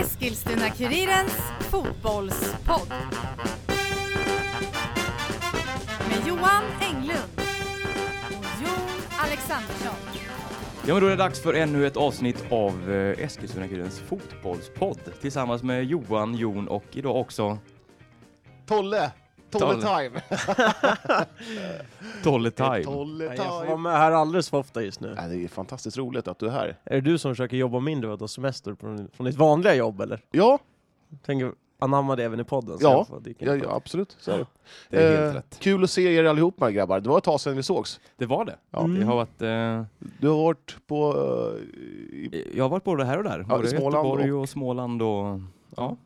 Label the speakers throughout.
Speaker 1: Eskilstuna-Kurirens fotbollspodd. Med Johan Englund och Jon Alexandersson.
Speaker 2: Ja, men då är det dags för ännu ett avsnitt av eh, Eskilstuna-Kurirens fotbollspodd tillsammans med Johan, Jon och idag också
Speaker 3: Tolle! Tolle
Speaker 2: Tolle.
Speaker 3: time!
Speaker 2: Tolle Time.
Speaker 3: Tolle
Speaker 4: Ja, Jag får vara
Speaker 3: time!
Speaker 4: med här alldeles för ofta just nu.
Speaker 3: Ja, det är fantastiskt roligt att du är här.
Speaker 4: Är det du som försöker jobba mindre och ta semester från, från ditt vanliga jobb eller?
Speaker 3: Ja,
Speaker 4: Tänker anamma det även i podden? så
Speaker 3: Ja,
Speaker 4: jag får dyka in
Speaker 3: ja,
Speaker 4: på
Speaker 3: ja absolut. Så är det.
Speaker 2: Det är helt
Speaker 3: Eh,
Speaker 2: rätt.
Speaker 3: Kul att se er allihopa grabbar. Det var ett tag sedan vi sågs.
Speaker 2: Det var det.
Speaker 3: Ja. Mm.
Speaker 2: Det har varit, eh,
Speaker 3: Du har varit på... eh, i-
Speaker 2: jag har varit både här och där.
Speaker 3: Ja,
Speaker 2: Både
Speaker 3: i Småland
Speaker 2: Göteborg och... Småland och... Ja,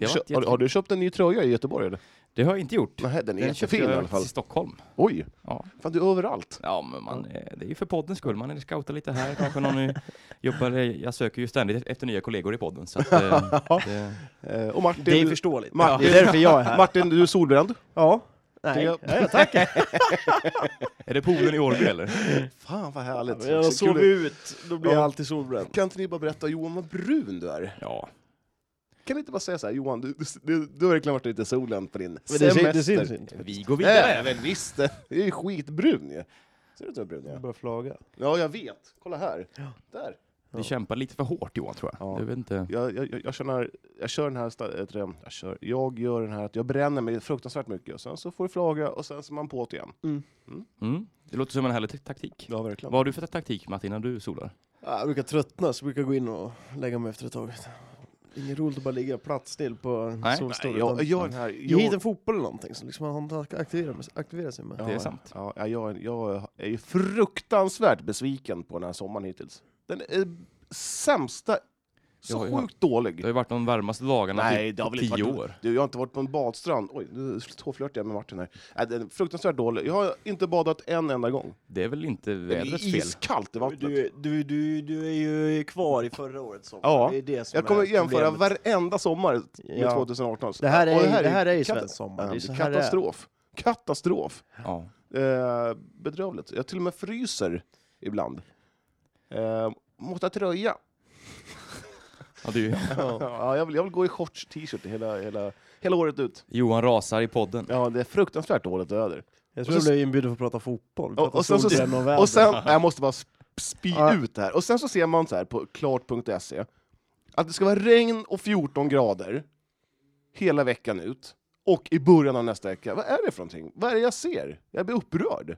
Speaker 2: Det
Speaker 3: du
Speaker 2: har varit
Speaker 3: kö- har, har du köpt en ny tröja i Göteborg eller?
Speaker 2: det har jag inte gjort.
Speaker 3: Nej, den är
Speaker 2: Den köpte
Speaker 3: jättefin i alla
Speaker 2: jag
Speaker 3: fall.
Speaker 2: i Stockholm.
Speaker 3: Oj!
Speaker 2: Ja.
Speaker 3: Fan, du är överallt.
Speaker 2: Ja, men man, eh, det är ju för poddens skull. Man är scoutar lite här, kanske någon eh, jobbar. Jag söker ju ständigt efter nya kollegor i podden. Så att, eh, det,
Speaker 3: Eh, och
Speaker 4: podden.
Speaker 3: Martin...
Speaker 4: Det är förståeligt.
Speaker 3: Martin,
Speaker 4: Det är därför jag är här.
Speaker 3: Martin, du är solbränd.
Speaker 4: Ja.
Speaker 3: Det
Speaker 4: Nej.
Speaker 3: är-
Speaker 4: ja, tack.
Speaker 2: är det poolen i Årby eller?
Speaker 3: Fan vad härligt.
Speaker 4: Jag
Speaker 3: Så
Speaker 4: sov
Speaker 3: kul.
Speaker 4: ut, då blir
Speaker 3: Ja.
Speaker 4: jag alltid solbränd.
Speaker 3: Kan inte ni bara berätta, Johan, vad brun du är?
Speaker 2: Ja,
Speaker 3: Kan ni inte bara säga så här, Johan, du, du, du har verkligen varit lite solen på din
Speaker 4: Men
Speaker 3: semester.
Speaker 4: det, ser, det syns inte.
Speaker 2: vi går
Speaker 3: Nej,
Speaker 2: vidare.
Speaker 3: men visst. Det är ju skitbrun ju. Ser du inte hur brun jag är?
Speaker 4: börjar flaga.
Speaker 3: Ja, jag vet. Kolla här. Där.
Speaker 2: Vi kämpar lite för hårt Johan, tror jag.
Speaker 3: Ja.
Speaker 2: Jag vet inte.
Speaker 3: Jag, jag, jag, jag, kör, den här, jag kör den här... sta- heter det, Jag, kör, jag gör den här att jag bränner mig fruktansvärt mycket och sen så får det flaga och sen så är man på det igen.
Speaker 2: Mm. Det låter som en härlig t- taktik.
Speaker 3: Ja, verkligen.
Speaker 2: Vad har du för taktik Martin när du solar?
Speaker 4: Ja, jag brukar tröttna, så jag brukar gå in och lägga mig efter ett tag. Inget roligt att bara ligga platt still på en
Speaker 2: Nej.
Speaker 4: solstol.
Speaker 3: Nej, jag, jag
Speaker 4: utan-
Speaker 3: gör den här...
Speaker 4: Ge hit en
Speaker 3: Jag,
Speaker 4: fotboll eller någonting så liksom han kan aktivera, med- aktivera sig med.
Speaker 3: Ja.
Speaker 2: Det är sant.
Speaker 3: ja, jag, jag, jag är ju fruktansvärt besviken på den här sommaren hittills. Den är sämsta. Så
Speaker 2: Ja, ja.
Speaker 3: sjukt
Speaker 2: Det
Speaker 3: dålig.
Speaker 2: har ju varit de varmaste dagarna
Speaker 3: Nej,
Speaker 2: typ
Speaker 3: det har väl
Speaker 2: tio
Speaker 3: inte varit...
Speaker 2: år.
Speaker 3: Du, jag har inte varit på en badstrand. Oj, nu tåflörtar jag med Martin här. Äh, den är fruktansvärt dålig. Jag har inte badat en enda gång.
Speaker 2: Det är väl inte
Speaker 3: Det är
Speaker 2: vädrets fel?
Speaker 3: iskallt i vattnet.
Speaker 4: Du, du, du, du är ju kvar i förra årets sommar.
Speaker 3: Ja.
Speaker 4: Det är det som
Speaker 3: jag kommer
Speaker 4: är
Speaker 3: jämföra
Speaker 4: problemet.
Speaker 3: varenda sommar med
Speaker 4: Ja.
Speaker 3: 2018.
Speaker 4: Det här
Speaker 3: Och
Speaker 4: är, det här är, ju
Speaker 3: kat-
Speaker 4: svensk
Speaker 3: Ja,
Speaker 4: sommar. det är
Speaker 3: det
Speaker 4: så
Speaker 3: är
Speaker 4: här
Speaker 3: katastrof. Katastrof.
Speaker 2: Ja.
Speaker 3: Eh, bedrövligt. Jag till och med fryser ibland. Eh, måste ha tröja.
Speaker 2: Ja, du,
Speaker 4: det är. Ja.
Speaker 3: Ja, jag, vill, jag vill gå i shorts, t-shirt hela, hela, hela året ut.
Speaker 2: Johan rasar i podden.
Speaker 3: Ja, det är fruktansvärt dåligt väder.
Speaker 4: Jag tror
Speaker 3: Och
Speaker 4: jag
Speaker 3: så-
Speaker 4: blev inbjuden för att prata fotboll.
Speaker 3: Och-
Speaker 4: Prata
Speaker 3: och sen så-
Speaker 4: solbränd och väder.
Speaker 3: Och sen, nej, jag måste bara sp- spy
Speaker 4: Ja.
Speaker 3: ut det här. Och sen så ser man så här på klart.se E att det ska vara regn och 14 grader hela veckan ut och i början av nästa vecka. Vad är det för någonting? Vad är det jag ser? Jag blir upprörd.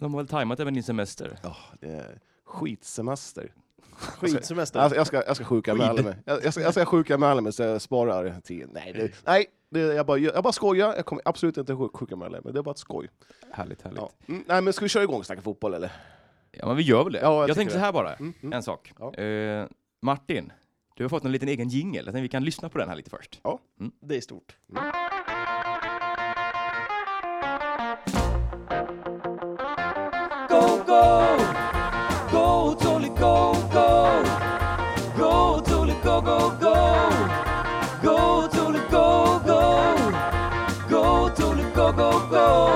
Speaker 2: De har väl tajmat även din semester?
Speaker 3: Ja, det är skitsemester.
Speaker 4: Skitsemester.
Speaker 3: Alltså, jag ska, jag ska sjukanmäla mig. Jag, jag ska, jag ska sjukanmäla mig så jag sparar tid. Nej, det, nej det, jag, bara, jag bara skojar. Jag kommer absolut inte sjuk- sjukanmäla mig. Det är bara ett skoj.
Speaker 2: Härligt, härligt.
Speaker 3: Ja.
Speaker 2: Ja.
Speaker 3: Mm, nej, men ska vi köra igång och snacka fotboll eller?
Speaker 2: men vi gör väl det.
Speaker 3: Ja, jag
Speaker 2: jag
Speaker 3: tycker
Speaker 2: tänkte så
Speaker 3: det.
Speaker 2: här bara,
Speaker 3: Mm, mm.
Speaker 2: en sak.
Speaker 3: Ja.
Speaker 2: Eh, Martin, du har fått en liten egen jingle. Jag tänkte vi kan lyssna på den här lite först.
Speaker 3: Mm.
Speaker 4: Det är stort.
Speaker 2: Go, go! Go, Tolly, go, go! Go, Tolly, go, go, go! Go, Tolly, go, go! Go, Tolly, go, go, go!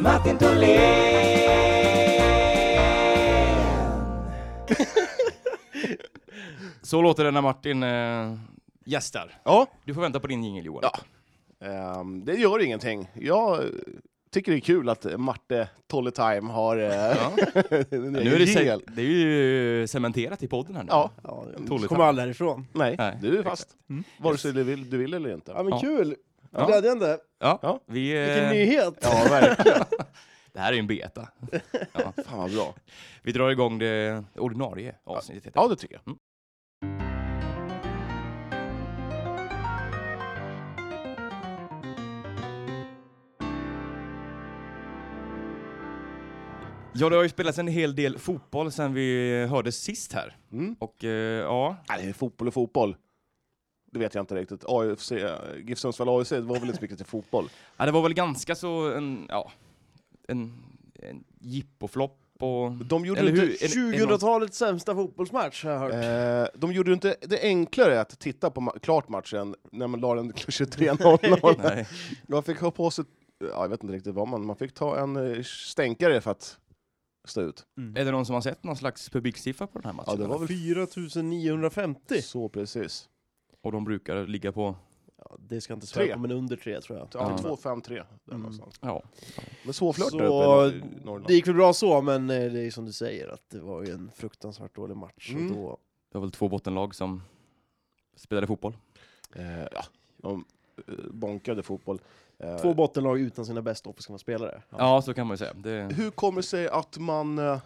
Speaker 2: Martin Tholén! Så låter det när Martin eh, gästar.
Speaker 3: Ja,
Speaker 2: Du får vänta på din jingel Johan.
Speaker 3: Ja. Ehm, det gör ingenting. Jag eh, tycker det är kul att eh, Marte Tolle Time har eh,
Speaker 2: Ja.
Speaker 3: en
Speaker 2: Nu är det,
Speaker 3: egen jingel.
Speaker 2: se- det är ju cementerat i podden här nu.
Speaker 3: Ja,
Speaker 4: Ja, jag
Speaker 2: Tolligt.
Speaker 4: kommer aldrig härifrån.
Speaker 3: nej,
Speaker 2: Nej,
Speaker 3: du är fast.
Speaker 2: Mm.
Speaker 3: Vare
Speaker 2: Yes.
Speaker 3: sig du vill, du vill eller inte.
Speaker 4: Ja men
Speaker 2: Ja.
Speaker 4: kul!
Speaker 2: Ja.
Speaker 4: Glädjande!
Speaker 2: Ja,
Speaker 3: Ja.
Speaker 2: Vi, eh,
Speaker 4: Vilken nyhet!
Speaker 3: Ja, verkligen.
Speaker 2: Det här är ju en beta.
Speaker 3: Fan vad bra.
Speaker 2: Vi drar igång det ordinarie avsnittet. heter
Speaker 3: Ja, det tycker jag.
Speaker 2: det. ja, det har ju spelats en hel del fotboll sen vi hördes sist här.
Speaker 3: Mm.
Speaker 2: Och eh, ja,
Speaker 3: Nej, fotboll och fotboll. Det vet jag inte riktigt. AFC, eh, GIF Sundsvall AFC, det var väl inte så mycket till fotboll.
Speaker 2: ja, det var väl ganska så en, ja, en, en jippoflopp och...
Speaker 3: De gjorde,
Speaker 2: Eller
Speaker 3: inte,
Speaker 2: hur? En- en-
Speaker 4: 2000-talets sämsta fotbollsmatch har jag hört.
Speaker 3: eh, de gjorde inte det enklare att titta på ma- klart matchen när man la den 23-0.
Speaker 2: Nej.
Speaker 3: Man fick ha på sig, ja, jag vet inte riktigt vad man, man fick ta en eh, stänkare för att stå ut.
Speaker 2: Är det någon som har sett någon slags publiksiffra på den här matchen?
Speaker 3: Ja, det var
Speaker 2: eller?
Speaker 3: väl
Speaker 4: 4950.
Speaker 3: Så precis.
Speaker 2: Och de brukar ligga på...
Speaker 4: Ja, det ska inte svära
Speaker 3: Tre.
Speaker 4: på, men under tre tror jag.
Speaker 3: Ja,
Speaker 2: Ja.
Speaker 3: 2-5-3. där
Speaker 4: Mm.
Speaker 3: någonstans.
Speaker 2: Ja.
Speaker 3: Men svårflört
Speaker 4: Så,
Speaker 3: där uppe i Norrland.
Speaker 4: Det gick väl bra så, men eh, det är som du säger att det var ju en fruktansvärt dålig match.
Speaker 3: Mm.
Speaker 4: Och då,
Speaker 2: Det var väl två bottenlag som spelade fotboll.
Speaker 3: Eh, ja, de eh, bonkade fotboll. Eh,
Speaker 4: två bottenlag utan sina bästa offensiva spelare.
Speaker 2: Ja, så kan man ju säga. Det...
Speaker 3: Hur kommer det sig att man eh,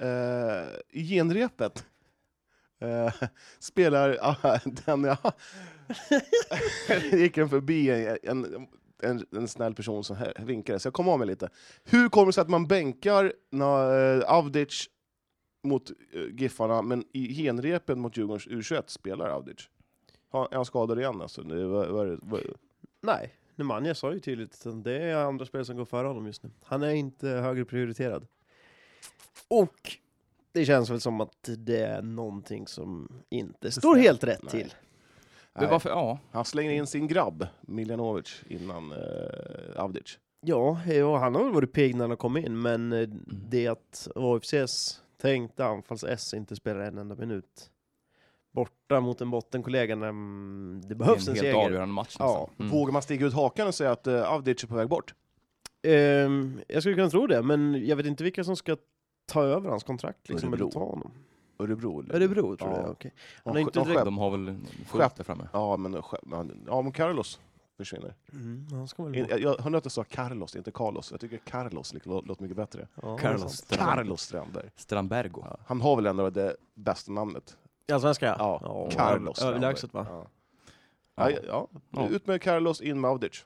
Speaker 3: eh, i genrepet eh, spelar ah, den jag... Det gick en förbi en, en, en, en snäll person som här vinkade, så jag kom av mig lite. Hur kommer det sig att man bänkar när, eh, Avdic mot eh, Giffarna, men i genrepet mot Djurgårdens U21 spelar Avdic? Har- Är han skadad igen alltså? Det var, var, var,
Speaker 4: Nej, Nemanja sa ju tydligt att det är andra spelare som går före honom just nu. Han är inte högre prioriterad. Och det känns väl som att det är någonting som inte står
Speaker 3: stämmer.
Speaker 4: helt rätt
Speaker 3: Nej.
Speaker 4: till.
Speaker 2: Det var för... Ja.
Speaker 3: Han slänger in sin grabb, Miljanovic, innan eh, Avdic.
Speaker 4: Ja, ja, han har väl varit pigg när han kom in, men eh, det att AFCs tänkta anfalls-S inte spelar en enda minut borta mot en bottenkollega när mm, det behövs
Speaker 2: Det är
Speaker 4: en
Speaker 2: en helt
Speaker 4: seger.
Speaker 2: avgörande match
Speaker 4: Ja,
Speaker 2: nästan. Mm.
Speaker 3: liksom. Vågar man stiga ut hakan och säga att eh, Avdic är på väg bort?
Speaker 4: Ehm, jag skulle kunna tro det, men jag vet inte vilka som ska ta över hans kontrakt liksom, eller
Speaker 3: Örebro.
Speaker 4: ta honom.
Speaker 3: Örebro? eller?
Speaker 4: Örebro tror
Speaker 3: Ja.
Speaker 4: jag, okej.
Speaker 3: Ja,
Speaker 4: Han har
Speaker 3: sk-
Speaker 4: inte
Speaker 3: ja,
Speaker 4: direkt-
Speaker 3: själv.
Speaker 2: De har väl
Speaker 3: Skepp.
Speaker 2: fullt där framme.
Speaker 3: Ja, men, eh, själv- men- ja, men Carlos försvinner.
Speaker 4: Mm, han ska väl
Speaker 3: In,
Speaker 4: bort.
Speaker 3: jag, jag hörde att jag sa Carlos, inte Carlos. Jag tycker Carlos lå- låter mycket bättre.
Speaker 4: Ja, det är
Speaker 2: Carlos
Speaker 4: sant.
Speaker 2: Strand.
Speaker 3: Carlos Strandberg.
Speaker 2: Strandbergo.
Speaker 3: Han har väl ändå det bästa namnet?
Speaker 4: I Allsvenskan?
Speaker 3: Ja,
Speaker 4: ja.
Speaker 3: Carlos Strandberg.
Speaker 4: Överlägset va?
Speaker 3: Ja.
Speaker 2: Ja.
Speaker 3: Ja. Ja,
Speaker 2: Ja.
Speaker 3: Ut med Carlos, in med Avdic.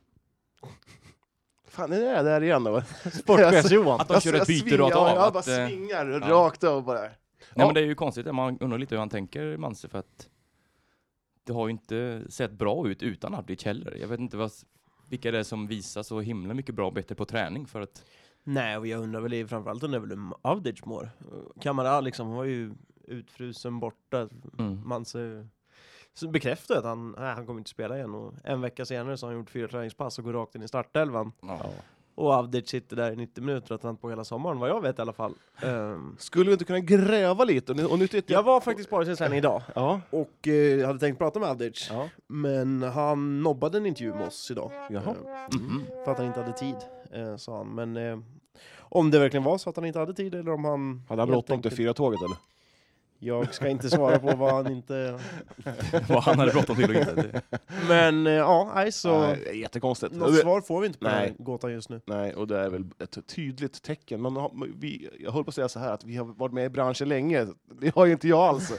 Speaker 3: Fan, är det där igen då?
Speaker 4: Sportchefs-Johan.
Speaker 2: Att de kör ett byte rakt av.
Speaker 3: Ja, jag
Speaker 2: att,
Speaker 3: bara
Speaker 2: eh,
Speaker 3: svingar rakt av bara.
Speaker 2: Nej, men det är ju konstigt. Man undrar lite hur han tänker, Manse, för att det har ju inte sett bra ut utan Abdic heller. Jag vet inte vad, vilka det är som visar så himla mycket bra och bättre på träning för att
Speaker 4: Nej, och jag undrar väl i- framförallt undrar väl hur Avdic mår. Kamara liksom var ju utfrusen borta.
Speaker 2: mm,
Speaker 4: Man så, så bekräftade att han, nej, han kommer inte spela igen. Och en vecka senare så har han gjort fyra träningspass och går rakt in i startelvan.
Speaker 2: ja.
Speaker 4: Och Avdic sitter där i 90 minuter och har tränat på hela sommaren, vad jag vet i alla fall. Ehm,
Speaker 3: Skulle vi inte kunna gräva lite? Och nu, och nu tittar
Speaker 4: jag var faktiskt på Arvidsjaurs träning idag
Speaker 3: Ja.
Speaker 4: och eh, hade tänkt prata med Avdic.
Speaker 3: ja.
Speaker 4: Men han nobbade en intervju med oss idag.
Speaker 3: Jaha.
Speaker 4: Ehm,
Speaker 2: Mhm.
Speaker 4: För att han inte hade tid, eh, sa han. Men eh, om det verkligen var så att han inte hade tid eller om han...
Speaker 3: Hade han
Speaker 4: helt
Speaker 3: bråttom till
Speaker 4: enkelt-
Speaker 3: fyra tåget eller?
Speaker 4: Jag ska inte svara på vad han inte...
Speaker 2: vad han hade bråttom till och inte. Det-
Speaker 4: Men eh, ja, nej så...
Speaker 3: Nej, det är jättekonstigt.
Speaker 4: Något svar får vi inte på
Speaker 3: Nej.
Speaker 4: den här gåtan just nu.
Speaker 3: Nej, och det är väl ett tydligt tecken. Man har, vi, jag höll på att säga så här att vi har varit med i branschen länge. Det har ju inte jag alls.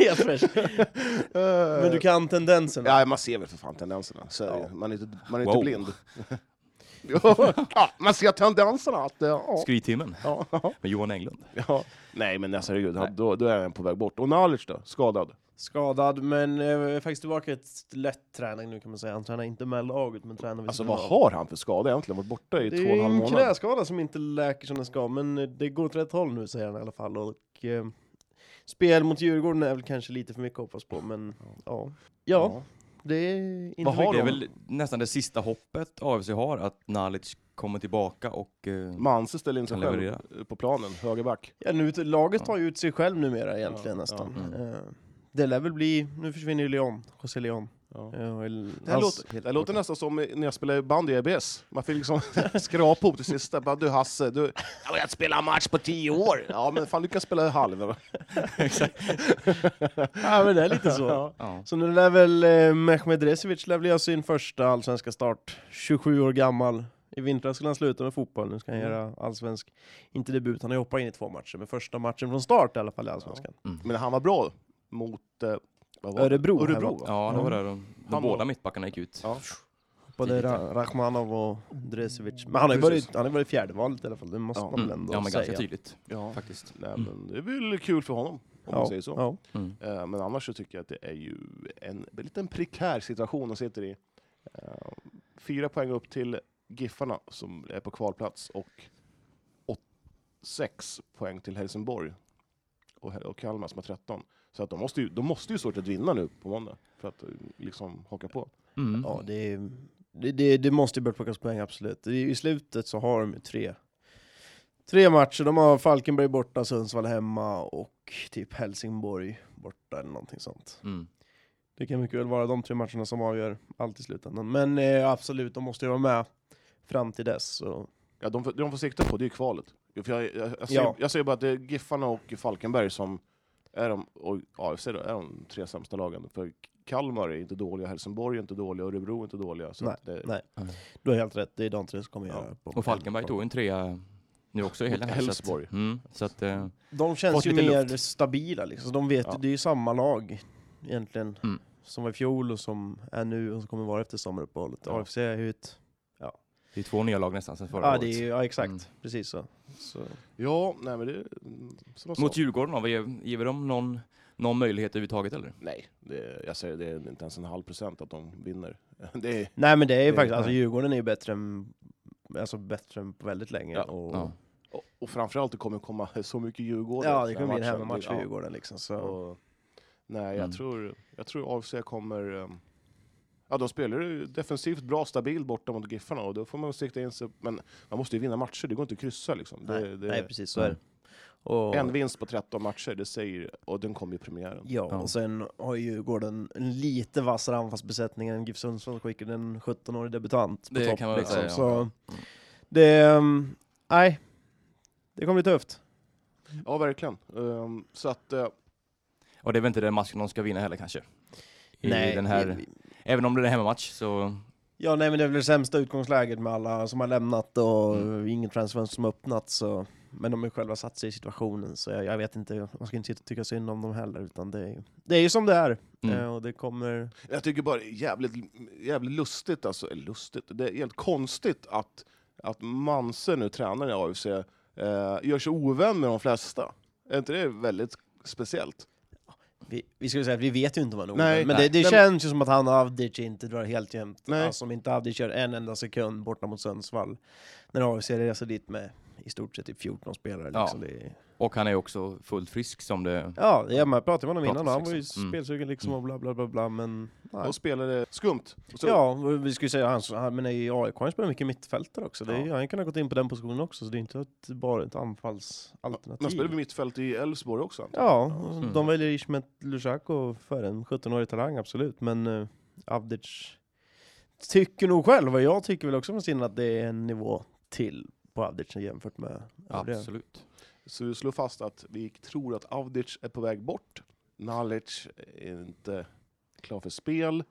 Speaker 3: Eh,
Speaker 4: Helt fräsch. Men du kan tendenserna.
Speaker 3: ja, man ser väl för fan tendenserna. Så är det ju.
Speaker 2: Ja.
Speaker 3: Man är inte, man är
Speaker 2: Wow.
Speaker 3: inte blind. ja, man ser tendenserna. Att, eh, ja.
Speaker 2: Skryttimmen
Speaker 3: Ja,
Speaker 2: med Johan Englund.
Speaker 3: ja. Nej, men alltså, herregud, han- då, då är han på väg bort. Och Nalic då? Skadad?
Speaker 4: Skadad, men eh, faktiskt tillbaka i ett lätt träning nu kan man säga. Han tränar inte med laget, men tränar vid
Speaker 3: Alltså
Speaker 4: sidan
Speaker 3: vad
Speaker 4: av.
Speaker 3: har han för skada egentligen? Varit borta i
Speaker 4: Det
Speaker 3: två och en
Speaker 4: är
Speaker 3: halv
Speaker 4: en
Speaker 3: månad?
Speaker 4: knäskada som inte läker som den ska, men eh, det går åt rätt håll nu säger han i alla fall. Och, eh, spel mot Djurgården är väl kanske lite för mycket att hoppas på, men ja. Ja, det är inte
Speaker 3: Vad har
Speaker 2: Det
Speaker 4: mycket.
Speaker 2: är väl nästan det sista hoppet AFC har, att Nalic kommer tillbaka och... eh,
Speaker 3: Manse ställer in sig
Speaker 2: Kan
Speaker 3: själv
Speaker 2: leverera.
Speaker 3: på planen, högerback.
Speaker 4: Ja, nu, laget tar ju ut sig själv numera egentligen
Speaker 3: Ja,
Speaker 4: nästan.
Speaker 2: ja. Mm.
Speaker 4: Eh, Det lär väl bli, nu försvinner ju Leon, José Leon.
Speaker 3: Ja.
Speaker 4: Eh, och el-
Speaker 3: Det, här
Speaker 4: hans-
Speaker 3: låter, det här låter nästan som när jag spelade bandy i EBS. Man fick liksom skrapa ihop det sista. Bara, du Hasse, du... Jag har inte spelat match på tio år! Ja, men fan du kan spela halv.
Speaker 4: Ja men det är lite så.
Speaker 2: Ja.
Speaker 4: Så nu lär väl eh, Mehmed Resevic lär väl göra sin första allsvenska start, 27 år gammal. I vintras skulle han sluta med fotboll, nu ska han göra allsvensk, inte debut, han har ju hoppat in i två matcher, men första matchen från start i alla fall i allsvenskan.
Speaker 3: Men han var bra mot... Eh, vad var det?
Speaker 4: Örebro,
Speaker 3: Örebro
Speaker 4: här
Speaker 3: va?
Speaker 2: Ja, det var där de, de
Speaker 3: Han
Speaker 2: båda
Speaker 3: och-
Speaker 2: mittbackarna gick ut.
Speaker 3: Ja.
Speaker 4: Både Ra- Rachmanov och Dresevic. Men han har ju
Speaker 3: Precis.
Speaker 4: varit, han har varit fjärdevalet i alla fall, det måste
Speaker 3: Ja.
Speaker 4: man väl
Speaker 2: Mm.
Speaker 4: ändå
Speaker 2: Ja, men ganska
Speaker 4: säga.
Speaker 2: tydligt
Speaker 3: ja.
Speaker 2: faktiskt.
Speaker 3: Nej, men det är väl kul för honom, om man säger så.
Speaker 4: Ja.
Speaker 2: Mm.
Speaker 3: Eh, Men annars så tycker jag att det är ju en liten prekär situation de sitter i. Eh, Fyra poäng upp till Giffarna som är på kvalplats och åt, sex poäng till Helsingborg och, Hel- och Kalmar som har 13. Så att de måste ju, de måste ju i stort sett vinna nu på måndag för att eh, liksom haka på.
Speaker 2: Mm.
Speaker 4: Ja, det, är- det, det, det måste ju börja plockas poäng, absolut. I, I slutet så har de ju tre, Tre matcher, de har Falkenberg borta, Sundsvall hemma och typ Helsingborg borta eller någonting sånt.
Speaker 2: Mm.
Speaker 4: Det kan mycket väl vara de tre matcherna som avgör allt i slutändan. Men eh, absolut, de måste ju vara med fram till dess. Så.
Speaker 3: Ja, de, får- de får sikta på, det är ju kvalet. Ja, För jag, jag, jag, ser,
Speaker 4: Ja.
Speaker 3: jag ser bara att det är Giffarna och Falkenberg som är de, och AFC då, är de tre sämsta lagen. För Kalmar är inte dåliga, Helsingborg är inte dåliga, Örebro är inte dåliga. Så att det,
Speaker 4: Nej, du har helt rätt. Det är de tre som kommer
Speaker 3: Ja.
Speaker 4: göra. På.
Speaker 2: Och Falkenberg tog en trea nu också i helgen. här, så att-
Speaker 3: Helsingborg.
Speaker 2: Mm, så att, eh,
Speaker 4: De
Speaker 2: Fått
Speaker 4: känns ju
Speaker 2: lite
Speaker 4: mer
Speaker 2: luft.
Speaker 4: stabila liksom. De vet,
Speaker 3: Ja.
Speaker 4: det är ju samma lag egentligen.
Speaker 2: Mm.
Speaker 4: Som var i fjol och som är nu och som kommer vara efter sommaruppehållet.
Speaker 3: Ja.
Speaker 4: AFC är ju ett...
Speaker 2: det är två nya lag nästan sen förra
Speaker 4: Ja,
Speaker 2: året.
Speaker 4: det är, ju- ja exakt.
Speaker 2: Mm.
Speaker 4: Precis så. så.
Speaker 3: Ja, nej men det är mm, som jag sa.
Speaker 2: Mot Djurgården då, vad ger, ger vi dem någon, någon möjlighet överhuvudtaget eller?
Speaker 3: Nej, det, jag säger det är inte ens en halv procent att de vinner. Det är,
Speaker 4: Nej men det är ju
Speaker 3: Det-
Speaker 4: faktiskt, alltså
Speaker 3: nej.
Speaker 4: Djurgården är ju bättre än, alltså bättre än på väldigt länge.
Speaker 3: Ja.
Speaker 4: Och,
Speaker 2: Ja.
Speaker 4: ja.
Speaker 3: och, och framförallt det kommer komma så mycket Djurgården. i
Speaker 4: det
Speaker 3: den här
Speaker 4: kommer bli en
Speaker 3: matchen.
Speaker 4: hemmamatch för
Speaker 3: Ja,
Speaker 4: Djurgården liksom. Så.
Speaker 3: och- nej, jag,
Speaker 2: Mm.
Speaker 3: tror, jag tror AFC kommer... ehm, Ja, de spelar ju defensivt bra, stabilt borta mot Giffarna och då får man sikta in sig. Men man måste ju vinna matcher, det går inte att kryssa liksom.
Speaker 4: nej,
Speaker 3: det, det,
Speaker 4: nej precis, så är det.
Speaker 2: Mm.
Speaker 4: Och,
Speaker 3: en vinst på 13 matcher, det säger... Och den kommer ju i premiären.
Speaker 4: ja,
Speaker 2: Ja.
Speaker 4: och sen har ju Djurgården en lite vassare anfallsbesättning än GIF Sundsvall skickade en 17-årig debutant på
Speaker 2: Det
Speaker 4: topp.
Speaker 2: kan man väl
Speaker 4: liksom,
Speaker 2: säga, ja.
Speaker 4: så det, ehm, nej, det kommer bli tufft.
Speaker 3: Ja, verkligen. Ehm, så att... eh,
Speaker 2: Och det är väl inte den matchen de ska vinna heller kanske? I
Speaker 4: nej,
Speaker 2: den här,
Speaker 4: vi-
Speaker 2: Även om det är en hemmamatch så...
Speaker 4: Ja, nej men det är väl det sämsta utgångsläget med alla som har lämnat och
Speaker 2: Mm.
Speaker 4: inget transfönster som har öppnat. Så. Men de har ju själva satt sig i situationen, så jag, jag vet inte, man ska inte sitta och tycka synd om dem heller. Utan det, är, ju- det är ju som det är,
Speaker 2: Mm.
Speaker 4: eh, och det kommer...
Speaker 3: Jag tycker bara det är jävligt, jävligt lustigt, alltså, eller lustigt, det är helt konstigt att, att Manse nu, tränaren i AFC, eh, gör sig ovän med de flesta. Är inte det väldigt speciellt?
Speaker 4: Vi, vi ska väl säga att vi vet ju inte vad han
Speaker 3: Nej,
Speaker 4: men
Speaker 3: nej.
Speaker 4: det, det
Speaker 3: Nej,
Speaker 4: känns ju som att han och Avdic inte drar helt jämnt.
Speaker 3: Nej.
Speaker 4: Alltså om inte Avdic gör en enda sekund borta mot Sundsvall, när AFC reser dit med i stort sett typ 14 spelare.
Speaker 2: Ja.
Speaker 4: Liksom. Ja. Det, är-
Speaker 2: Och han är också fullt frisk som det...
Speaker 4: ja, det är- man pratade med honom
Speaker 2: Pratas
Speaker 4: innan, och han var ju
Speaker 2: liksom. Mm.
Speaker 4: spelsugen liksom och bla bla bla bla, men... nej.
Speaker 3: Och spelade skumt. Och så,
Speaker 4: Ja, och vi skulle säga han, han men i AIK han spelar mycket mittfältare också. Det är,
Speaker 3: Ja.
Speaker 4: Han kan ha gått in på den positionen också, så det är inte ett, bara ett
Speaker 3: Man spelade
Speaker 4: anfallsalternativ.
Speaker 3: mittfält i Elfsborg också. antar jag.
Speaker 4: Ja, och
Speaker 2: Mm.
Speaker 4: de väljer Ismet Lushako för en 17-årig talang, absolut. Men uh, Avdic tycker nog själv, och jag tycker väl också från sinnen, att det är en nivå till på Avdic jämfört med övriga.
Speaker 2: Absolut.
Speaker 3: Så vi slår fast att vi tror att Avdic är på väg bort. Nalic är inte klar för spel.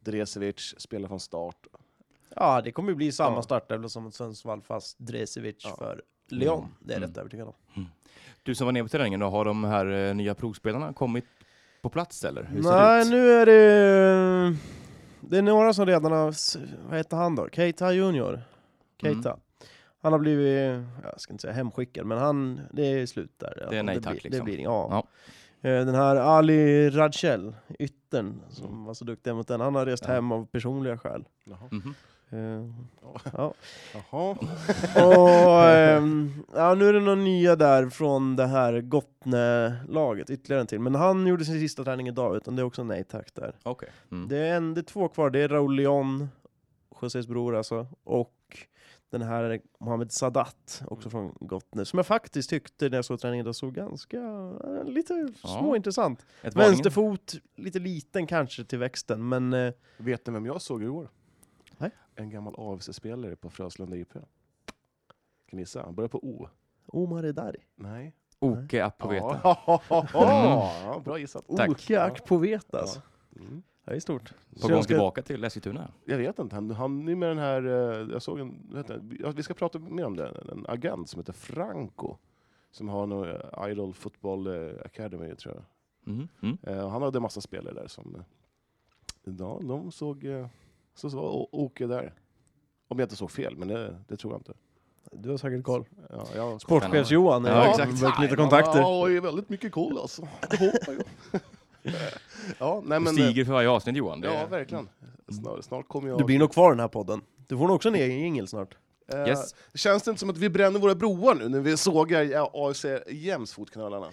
Speaker 3: Dresevic spelar från start.
Speaker 4: Ja, det kommer ju bli samma
Speaker 3: Ja.
Speaker 4: startelva som mot Sundsvall, fast Dresevic
Speaker 3: Ja.
Speaker 4: för Leon.
Speaker 2: Mm.
Speaker 4: Det är jag
Speaker 2: Mm.
Speaker 4: rätt övertygad om.
Speaker 2: Du som var nere på träningen då, har de här eh, nya provspelarna kommit på plats eller? Hur ser det
Speaker 4: Nej,
Speaker 2: ut?
Speaker 4: nu är det... Det är några som redan har... Vad heter han då? Keita Junior. Keita.
Speaker 2: Mm.
Speaker 4: Han har blivit, jag ska inte säga hemskickad, men han, det är slut där.
Speaker 2: Det är nej
Speaker 4: det
Speaker 2: tack,
Speaker 4: blir,
Speaker 2: liksom.
Speaker 4: Det blir, ja. Eh, Den här Ali Radcel, yttern, som
Speaker 3: Mm.
Speaker 4: var så duktig mot den, han har rest
Speaker 2: Ja.
Speaker 4: hem av personliga skäl.
Speaker 3: Jaha.
Speaker 2: Mhm.
Speaker 4: Eh,
Speaker 3: Jaha.
Speaker 4: och, ehm, ja, nu är det några nya där från det här Gottne-laget, ytterligare en till. Men han gjorde sin sista träning idag, utan det är också nej tack där.
Speaker 2: Okej. Mm.
Speaker 4: Det är, en, det är två kvar, det är Raúl Leon, Josés bror alltså, och den här Mohamed Sadat,
Speaker 2: Mm.
Speaker 4: också från Gottner, som jag faktiskt tyckte när jag såg träningen idag såg ganska, eh, lite
Speaker 2: Ja.
Speaker 4: småintressant.
Speaker 2: Ett varningen.
Speaker 4: Vänsterfot, lite liten kanske till växten, men eh,
Speaker 3: Vet ni vem jag såg igår?
Speaker 4: Nej.
Speaker 3: En gammal AFC-spelare på Fröslunda IP. Kan ni gissa? Han börjar på O.
Speaker 4: Omar är där.
Speaker 3: Nej.
Speaker 2: Oke Apoveta.
Speaker 3: Ja. ja, bra gissat.
Speaker 2: Tack.
Speaker 4: Oke Akpoveta alltså.
Speaker 3: Mm.
Speaker 4: Det är stort.
Speaker 2: På
Speaker 4: Så jag
Speaker 2: gång
Speaker 4: ska-
Speaker 2: tillbaka till Eskilstuna.
Speaker 3: Jag vet inte, han, han är med den här, eh, jag såg en, vad heter det? Ja, vi ska prata mer om det, en agent som heter Franco. Som har någon eh, Idol Football eh, Academy tror jag.
Speaker 2: Mhm. Mm.
Speaker 3: Eh, och Han hade en massa spelare där som, eh, ja, de såg, eh, så så var O- Oke där. Om jag inte såg fel, men det, det tror jag inte.
Speaker 4: Du har säkert koll.
Speaker 3: Ja, jag
Speaker 4: Sportchefs-Johan,
Speaker 2: Ja,
Speaker 4: eh,
Speaker 2: exakt.
Speaker 4: börjat knyta
Speaker 3: Ja,
Speaker 4: kontakter.
Speaker 3: jag är väldigt mycket cool alltså. Det hoppar jag. ja, nej
Speaker 2: Du
Speaker 3: men... eh,
Speaker 2: stiger för varje avsnitt Johan. Det-
Speaker 3: Ja, verkligen. Snart, snart kommer jag...
Speaker 4: Du blir nog kvar i den här podden. Du får nog också en egen jingel snart.
Speaker 3: Eh,
Speaker 2: Yes.
Speaker 3: Känns det inte som att vi bränner våra broar nu när vi sågar ja, AFC jäms fotknölarna?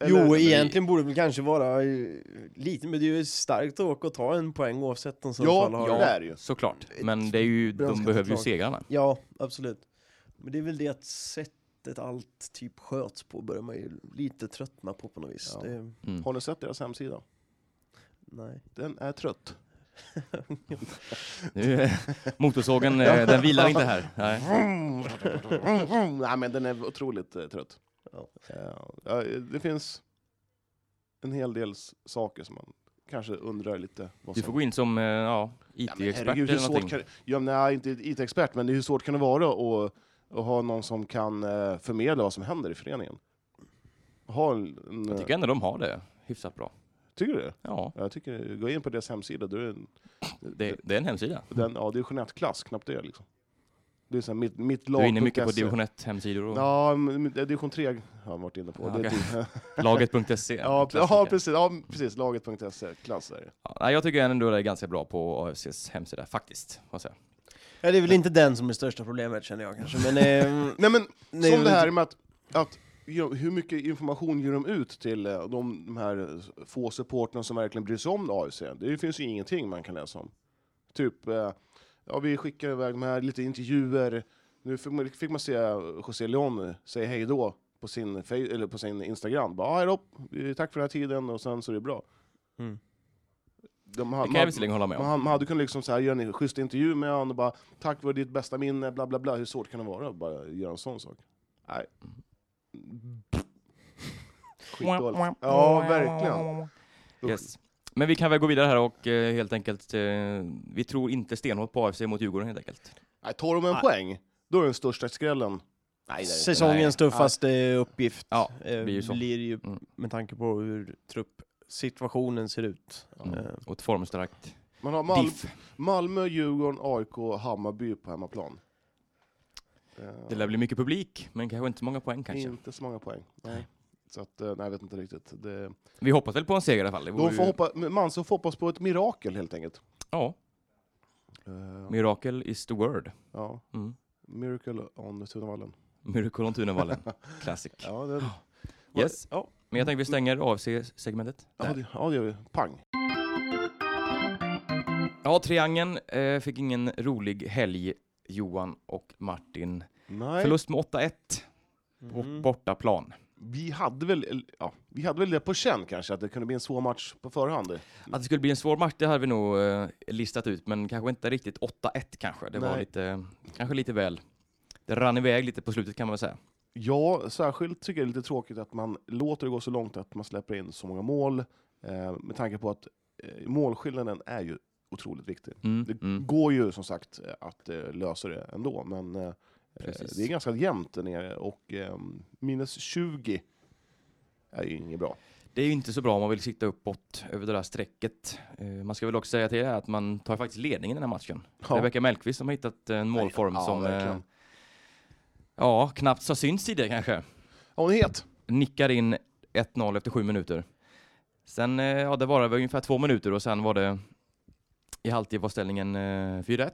Speaker 3: Eller-
Speaker 4: Jo, egentligen borde det väl kanske vara eh, lite, men det är ju starkt att åka och ta en poäng oavsett om Sundsvall
Speaker 3: Ja,
Speaker 4: har...
Speaker 3: ja.
Speaker 4: Ja.
Speaker 3: det är det ju.
Speaker 2: Såklart. Men det är ju, de
Speaker 4: Brönskat
Speaker 2: behöver ju
Speaker 4: lag.
Speaker 2: segrarna.
Speaker 4: ja, absolut. Men det är väl det att sett sättet allt typ sköts på börjar man ju lite tröttna på på något vis.
Speaker 3: Ja.
Speaker 4: Det,
Speaker 2: Mm.
Speaker 3: Har ni sett deras hemsida?
Speaker 4: nej.
Speaker 3: Den är trött.
Speaker 2: Nu, eh, motorsågen, eh, den vilar inte här. Nej.
Speaker 3: Nej, men den är otroligt eh, trött.
Speaker 4: Ja.
Speaker 3: Eh, ja, det finns en hel del s- saker som man kanske undrar lite. Vad
Speaker 2: Du
Speaker 3: som-
Speaker 2: får gå in som eh, ja,
Speaker 3: Ja, men
Speaker 2: IT-expert
Speaker 3: herregud, hur
Speaker 2: eller
Speaker 3: svårt
Speaker 2: någonting.
Speaker 3: kan, ja, men nej, inte IT-expert, men hur svårt kan det vara att, att ha någon som kan eh, förmedla vad som händer i föreningen? Ha en, en,
Speaker 2: Jag tycker ändå de har det hyfsat bra.
Speaker 3: tycker du det?
Speaker 2: Ja,
Speaker 3: Jag tycker, gå in på deras hemsida, då är det en,
Speaker 2: det, det är en hemsida.
Speaker 3: den, ja, det är Jeanette-klass, knappt det liksom. Det är så här, mitt, mitt lag.
Speaker 2: Du är inne mycket på division 1-hemsidor och
Speaker 3: E. Ja, men- men division 3 har jag varit inne på.
Speaker 2: Ja,
Speaker 3: det är
Speaker 2: okej.
Speaker 3: typ,
Speaker 2: laget.se.
Speaker 3: ja,
Speaker 2: E. klassiker.
Speaker 3: ja, precis, ja, precis. Laget.se, E, klass är det.
Speaker 2: Ja, nej, jag tycker ändå det är ganska bra på AFCs hemsida, faktiskt. får jag säga.
Speaker 4: Ja, det är väl inte den som är största problemet känner jag kanske, men... ehm,
Speaker 3: Nej, men Som
Speaker 4: nej, jag
Speaker 3: det
Speaker 4: vet
Speaker 3: här med att, att ja, hur mycket information ger de ut till eh, de, de här eh, få supporterna som verkligen bryr sig om AFC? Det finns ju ingenting man kan läsa om. Typ, eh, ja, vi skickar iväg de här lite intervjuer. Nu fick man, fick man se José Leon säga hej då på sin, fej- eller på sin Instagram. Bara, "Ja, hej då, eh, tack för den här tiden och sen så är det bra.
Speaker 4: Mm.
Speaker 3: De,
Speaker 2: Det
Speaker 3: har-
Speaker 2: kan jag visserligen hålla med
Speaker 3: man,
Speaker 2: om.
Speaker 3: man, man hade kunnat liksom så här göra en schysst intervju med honom och bara tack vare ditt bästa minne, bla bla bla. Hur svårt kan det vara att bara göra en sån sak? Nej. Skitdåligt. Ja, verkligen.
Speaker 2: Yes. Men vi kan väl gå vidare här och eh, helt enkelt, eh, vi tror inte stenhårt på AFC mot Djurgården helt enkelt.
Speaker 3: Nej, tar de en
Speaker 4: Nej.
Speaker 3: poäng, då är det den största skrällen.
Speaker 4: Säsongens tuffaste uppgift
Speaker 2: Ja,
Speaker 4: eh,
Speaker 2: blir ju så.
Speaker 4: ju
Speaker 2: Mm.
Speaker 4: med tanke på hur truppsituationen ser ut.
Speaker 2: Mm.
Speaker 4: Eh,
Speaker 2: Och ett formstarkt
Speaker 3: Man har Mal
Speaker 2: diff.
Speaker 3: Malmö, Djurgården, AIK, Hammarby på hemmaplan. Eh,
Speaker 2: Det lär bli mycket publik, men kanske inte så många poäng kanske.
Speaker 3: Inte så många poäng. Nej. Så att, eh, nej, jag vet inte riktigt. Det...
Speaker 2: Vi hoppas väl på en seger i alla fall. Det
Speaker 3: De
Speaker 2: vore
Speaker 3: får
Speaker 2: ju-
Speaker 3: hoppa... Man så får hoppas på ett mirakel helt enkelt.
Speaker 2: Ja,
Speaker 3: Eh,
Speaker 2: mirakel is the word.
Speaker 3: ja.
Speaker 2: Mm.
Speaker 3: Miracle on Tunavallen.
Speaker 2: Miracle on Tunavallen, classic.
Speaker 3: Ja, det...
Speaker 2: Yes.
Speaker 3: Ja.
Speaker 2: Men jag tänker vi stänger AFC-segmentet.
Speaker 3: Ja, det, ja, det gör vi. Pang.
Speaker 2: Ja, Triangeln eh, fick ingen rolig helg, Johan och Martin.
Speaker 3: Nej,
Speaker 2: Förlust med 8-1 på
Speaker 4: Mm.
Speaker 2: bortaplan.
Speaker 3: vi hade, väl, ja, vi hade väl det på känn kanske, att det kunde bli en svår match på förhand.
Speaker 2: Att det skulle bli en svår match, det hade vi nog eh, listat ut, men kanske inte riktigt 8-1 kanske. Det var
Speaker 3: Nej.
Speaker 2: lite, kanske lite väl. Det rann iväg lite på slutet kan man väl säga.
Speaker 3: Ja, särskilt tycker jag det är lite tråkigt att man låter det gå så långt att man släpper in så många mål, eh, med tanke på att eh, målskillnaden är ju otroligt viktig.
Speaker 2: Mm,
Speaker 3: Det
Speaker 2: mm.
Speaker 3: går ju som sagt eh, att eh, lösa det ändå, men eh,
Speaker 2: Precis.
Speaker 3: det är ganska jämnt där nere och eh, minus 20 är ju inget bra.
Speaker 2: Det är ju inte så bra om man vill sitta uppåt över det där strecket. Eh, man ska väl också säga till er att man tar faktiskt ledningen i den här matchen.
Speaker 3: Ja.
Speaker 2: Rebecka Mellqvist som har hittat en målform
Speaker 3: Ja,
Speaker 2: som eh,
Speaker 3: verkligen.
Speaker 2: ja, knappt har synts i det kanske.
Speaker 3: Ja, hon är het!
Speaker 2: nickar in 1-0 efter sju minuter. Sen, eh, ja det varade väl ungefär två minuter och sen var det i halvtid var ställningen eh, 4-1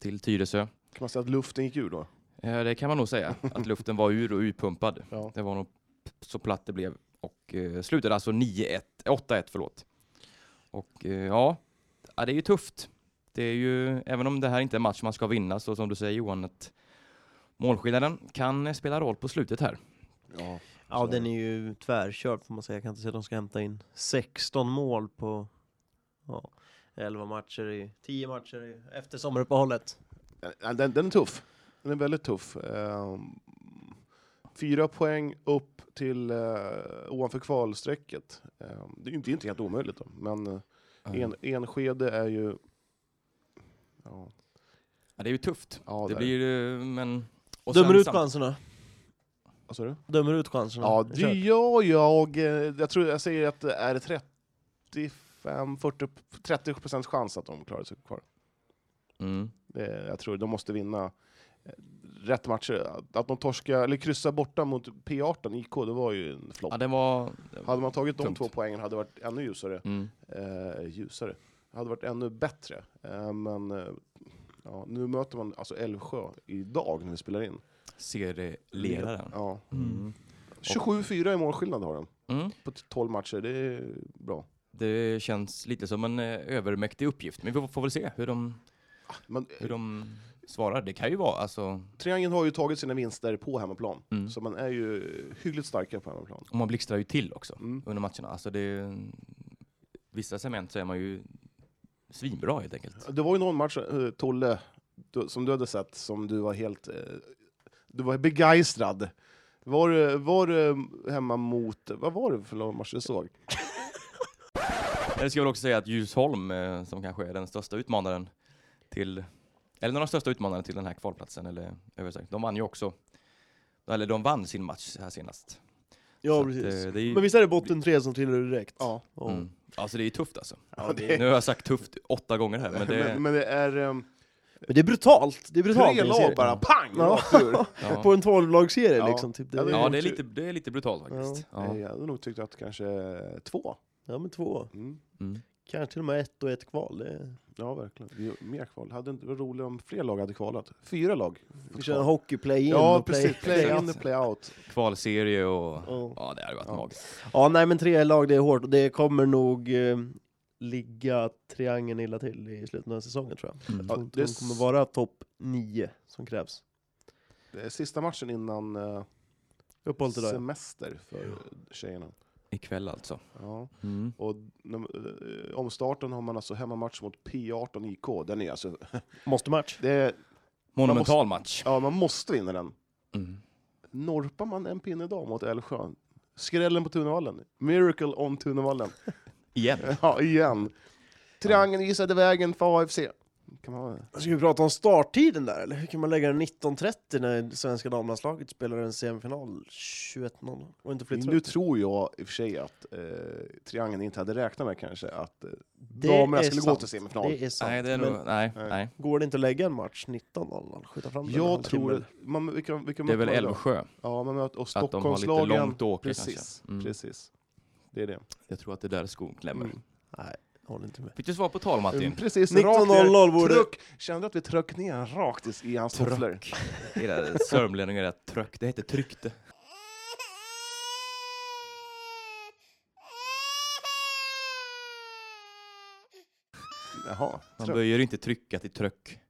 Speaker 2: till Tyresö.
Speaker 3: Kan man säga att luften gick ur då?
Speaker 2: Eh, Det kan man nog säga, att luften var ur och utpumpad.
Speaker 3: Ja.
Speaker 2: Det var nog p- så platt det blev och eh, slutade alltså 9-1, eh, 8-1 förlåt. Och eh, ja, ja, det är ju tufft. Det är ju, även om det här inte är en match man ska vinna, så som du säger Johan, att målskillnaden kan eh, spela roll på slutet här.
Speaker 3: Ja.
Speaker 4: Ja, den är ju tvärkörd får man säga. Jag kan inte se att de ska hämta in 16 mål på ja, 11 matcher i 10 matcher i, efter sommaruppehållet.
Speaker 3: Ja, Eh, Den, den är tuff. Den är väldigt tuff. Ehm, fyra poäng upp till eh, ovanför kvalstrecket. Ehm, det är ju inte, det är inte helt omöjligt, då. men eh, en, Enskede är ju... Ja,
Speaker 2: Ja, det är ju tufft.
Speaker 3: ja,
Speaker 2: det
Speaker 3: där.
Speaker 2: blir eh, men... och sen
Speaker 4: Dömer ut
Speaker 2: samt-
Speaker 4: chanserna.
Speaker 3: Vad sa du?
Speaker 4: Dömer ut chanserna.
Speaker 3: Ja,
Speaker 4: Det är
Speaker 3: det
Speaker 4: kört.
Speaker 3: gör jag. eh, Jag tror jag säger att det är 35, 40, 30 procents chans att de klarar sig kvar.
Speaker 2: Mm.
Speaker 3: Det, jag tror de måste vinna eh, rätt matcher. Att- Att de torskar, eller kryssar borta mot P18 IK, det var ju en flopp.
Speaker 2: Ja, det var...
Speaker 3: Hade man tagit de
Speaker 2: Tungt.
Speaker 3: två poängen hade det varit ännu ljusare.
Speaker 2: Mm.
Speaker 3: Eh, ljusare. Hade varit ännu bättre. Eh, men eh, ja, nu möter man alltså Älvsjö idag när vi spelar in.
Speaker 2: Serieledaren.
Speaker 3: Ja.
Speaker 2: Mm.
Speaker 3: 27-4 i målskillnad har de
Speaker 2: Mm.
Speaker 3: på t- 12 matcher. Det är bra.
Speaker 2: Det känns lite som en eh, övermäktig uppgift, men vi får, får väl se hur de,
Speaker 3: Men,
Speaker 2: hur de svarar. Det kan ju vara, alltså, om
Speaker 3: Triangeln har ju tagit sina vinster på hemmaplan,
Speaker 2: Mm.
Speaker 3: så man är ju hyggligt starka på hemmaplan.
Speaker 2: man blixtrar ju till också
Speaker 3: Mm.
Speaker 2: under matcherna. Alltså det är, vissa segment så är man ju svinbra helt enkelt.
Speaker 3: Det var ju någon match, eh, Tolle, du, som du hade sett, som du var helt... eh, Du var begeistrad. Var, det- var det hemma mot... Vad var det för match du såg?
Speaker 2: Jag ska väl också säga att Ljusholm, eh, som kanske är den största utmanaren till, eller en av de största utmanarna till den här kvalplatsen, eller över sagt, de vann ju också, eller de vann sin match här senast. Så
Speaker 4: Ja,
Speaker 2: att,
Speaker 4: precis.
Speaker 2: eh, det är ju-
Speaker 4: Men visst är det botten tre som trillar ur direkt?
Speaker 3: Ja.
Speaker 4: Ja.
Speaker 2: Mm. Alltså det är ju tufft alltså.
Speaker 3: Ja, det
Speaker 2: Nu har jag sagt tufft åtta gånger här, men det...
Speaker 3: men, men det är ehm,
Speaker 4: Men det är brutalt. Det är brutalt.
Speaker 3: tre
Speaker 4: när jag ser
Speaker 3: lag
Speaker 4: det.
Speaker 3: bara, pang!
Speaker 4: Ja.
Speaker 3: Rakt ur.
Speaker 2: ja.
Speaker 4: På en 12-lagsserie
Speaker 3: Ja.
Speaker 4: liksom. Typ. Det
Speaker 3: Ja,
Speaker 4: är,
Speaker 2: Ja, det är lite, det är lite brutalt faktiskt. Ja.
Speaker 3: Eh, Jag hade nog tyckt att kanske eh, två.
Speaker 4: ja, men två.
Speaker 3: Mm.
Speaker 2: Mm.
Speaker 4: Kanske till och med ett och ett kval. Det är...
Speaker 3: Ja, verkligen. Det är ju Mer kval. Hade inte varit roligt om fler lag hade kvalat. Fyra lag.
Speaker 4: Vi kör en hockey play-in
Speaker 3: Ja,
Speaker 4: och play,
Speaker 3: precis. Play,
Speaker 4: play-out.
Speaker 3: in och play out.
Speaker 2: Kvalserie och...
Speaker 4: Ja.
Speaker 2: Ja, det hade varit
Speaker 3: Ja.
Speaker 2: magiskt.
Speaker 4: Ja, nej men tre lag, det är hårt. Och det kommer nog eh, ligga triangeln illa till i slutet av säsongen tror jag.
Speaker 2: Mm.
Speaker 3: Ja,
Speaker 4: De,
Speaker 3: det
Speaker 4: de
Speaker 3: s-
Speaker 4: kommer vara topp nio som krävs.
Speaker 3: Det är eh, sista matchen innan eh,
Speaker 4: Uppehåll till det.
Speaker 3: semester för tjejerna.
Speaker 2: Ikväll alltså.
Speaker 3: Ja.
Speaker 2: Mm.
Speaker 3: Och när- eh, omstarten har man alltså hemmamatch mot P18 IK. Den är alltså,
Speaker 4: Måste match.
Speaker 3: det är,
Speaker 2: Monumental match.
Speaker 3: ja, man måste vinna den.
Speaker 2: Mm.
Speaker 3: Norpar man en pinne idag mot Älvsjön? Skrällen på Tunavallen. Miracle on Tunavallen.
Speaker 2: Igen.
Speaker 3: Ja, igen. Triangeln gissade vägen för AFC. Kan man,
Speaker 4: Ska vi prata om starttiden där eller? Hur kan man lägga den 19.30 när svenska damlandslaget spelar en semifinal 21.00? Och inte flytta
Speaker 3: nu
Speaker 4: ut?
Speaker 3: tror jag i och för sig att eh, Triangeln inte hade räknat med kanske att eh,
Speaker 4: Det
Speaker 3: damerna
Speaker 4: är
Speaker 3: skulle gå
Speaker 4: sant.
Speaker 3: till semifinal.
Speaker 4: Det är sant.
Speaker 2: Nej, det är
Speaker 4: men
Speaker 2: nog... Nej,
Speaker 3: Nej.
Speaker 2: nej.
Speaker 4: Går det inte att lägga en match 19.00? Skjuta fram den en
Speaker 3: Jag
Speaker 4: halvtimme?
Speaker 3: tror... Man, vilka, vilka
Speaker 2: Det är
Speaker 3: möter
Speaker 2: väl
Speaker 3: man idag?
Speaker 2: Älvsjö.
Speaker 3: Ja, man möter, och
Speaker 2: Att de har lite
Speaker 3: Stockholmslagen...
Speaker 2: långt att åka
Speaker 3: precis,
Speaker 2: kanske. Mm.
Speaker 3: precis. Det är det.
Speaker 2: Jag tror att det är där skon klämmer.
Speaker 3: Mm.
Speaker 4: Nej, jag håller inte med.
Speaker 2: Fick du svar på tal Martin?
Speaker 3: Precis,
Speaker 4: 19.00 borde-
Speaker 3: Tryck. Kände att vi tryck ner han rakt i- i hans tofflor?
Speaker 2: Era sörmlänningar är tröck. Det heter tryckte.
Speaker 3: Jaha.
Speaker 2: Man
Speaker 3: tröck.
Speaker 2: böjer inte trycka till tröck.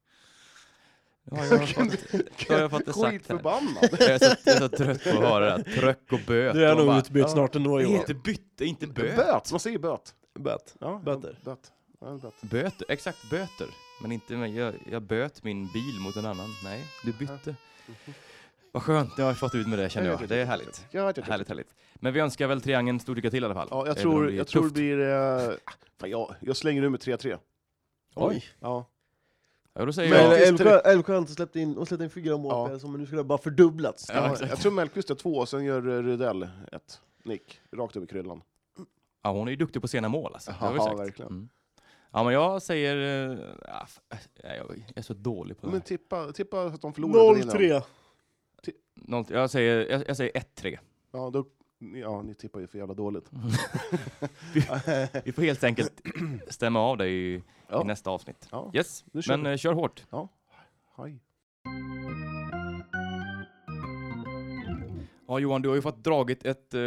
Speaker 2: Ja, jag har fått, det har jag fått det sagt här.
Speaker 3: Skitförbannad.
Speaker 2: Jag är, så, jag är så trött på att höra det här. Tröck och böt.
Speaker 4: Du är
Speaker 2: Och man
Speaker 4: nog
Speaker 2: bara,
Speaker 4: utbytt snart ändå
Speaker 2: Det
Speaker 4: Johan.
Speaker 2: heter bytte, inte böt.
Speaker 3: Böt, man säger böt.
Speaker 4: Böt.
Speaker 3: Ja,
Speaker 4: Böter.
Speaker 3: Böt. Ja, böt.
Speaker 2: Böter, exakt böter. Men inte, men jag, jag böt min bil mot en annan. Nej, du bytte. Vad skönt, nu har jag fått ut med det känner jag. Det är härligt.
Speaker 3: Ja, ja, ja, ja.
Speaker 2: Härligt, härligt. Men vi önskar väl triangeln stort lycka till i alla fall.
Speaker 3: Ja, jag
Speaker 2: Även om
Speaker 3: tror
Speaker 2: är
Speaker 3: jag tror det
Speaker 2: tufft.
Speaker 3: blir... eh, Fan, jag, jag slänger ur med 3-3.
Speaker 2: Oj.
Speaker 3: Ja.
Speaker 2: Ja, typ. då säger
Speaker 4: Men
Speaker 2: jag...
Speaker 3: Mellqvist
Speaker 4: Älvsjö- Älvsjö har inte släppt in, och släppt in fyra mål
Speaker 3: Ja.
Speaker 4: på som men nu skulle det bara fördubblats.
Speaker 2: Ja,
Speaker 3: Ja,
Speaker 2: exakt.
Speaker 3: jag tror Mellqvist gör två, och sen gör eh, Rydell ett. Nick, rakt över kryllan.
Speaker 2: Ja, hon är ju duktig på sena mål alltså. Det har vi
Speaker 3: Ja,
Speaker 2: sagt.
Speaker 3: verkligen.
Speaker 2: Mm. Ja, men jag säger... eh, ah, f- äh, jag är så dålig på det
Speaker 3: Men
Speaker 2: här.
Speaker 3: tippa, tippa att de förlorar. och vinner.
Speaker 4: 0-3.
Speaker 2: Någon- Jag säger, jag, jag säger 1-3.
Speaker 3: Ja, då, ja, ni tippar ju för jävla dåligt.
Speaker 2: Vi får helt enkelt stämma av det i,
Speaker 3: Ja.
Speaker 2: i nästa avsnitt.
Speaker 3: Ja,
Speaker 2: Yes,
Speaker 3: nu kör
Speaker 2: men
Speaker 3: vi.
Speaker 2: eh, kör hårt.
Speaker 3: Hej.
Speaker 2: Ja, Johan, du har ju fått dragit ett eh,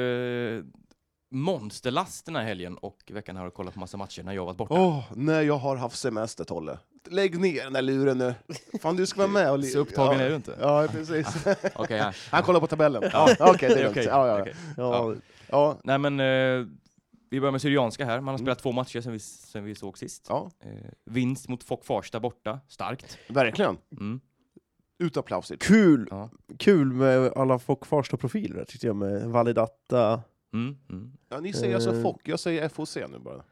Speaker 2: monsterlast den här helgen och veckan här och kollat på massa matcher när jag varit borta.
Speaker 3: Åh, nej, jag har haft semester, Tolle. Lägg ner den där luren nu. Fan, du ska vara med och... li-
Speaker 2: Så upptagen
Speaker 3: ja.
Speaker 2: är du inte.
Speaker 3: Ja, precis.
Speaker 2: Okej, ja.
Speaker 3: Han kollar på tabellen. Ja, Okej, det är lugnt.
Speaker 2: Okej,
Speaker 3: Ja, ja, ja.
Speaker 2: okej.
Speaker 4: Ja,
Speaker 3: Ja,
Speaker 2: Nej, men eh, vi börjar med Syrianska här. Man har
Speaker 3: Mm.
Speaker 2: spelat två matcher sen vi, sen vi såg sist.
Speaker 3: ja,
Speaker 2: Eh, vinst mot Fock Farsta borta, starkt.
Speaker 3: verkligen.
Speaker 2: Mm.
Speaker 3: Ut applauser.
Speaker 4: kul,
Speaker 2: Ja.
Speaker 4: kul med alla Fock Farsta-profiler där, tyckte jag med Validatta.
Speaker 2: Mm, mm.
Speaker 3: Ja, ni säger alltså
Speaker 4: Eh.
Speaker 3: Fock, jag säger FOC nu bara.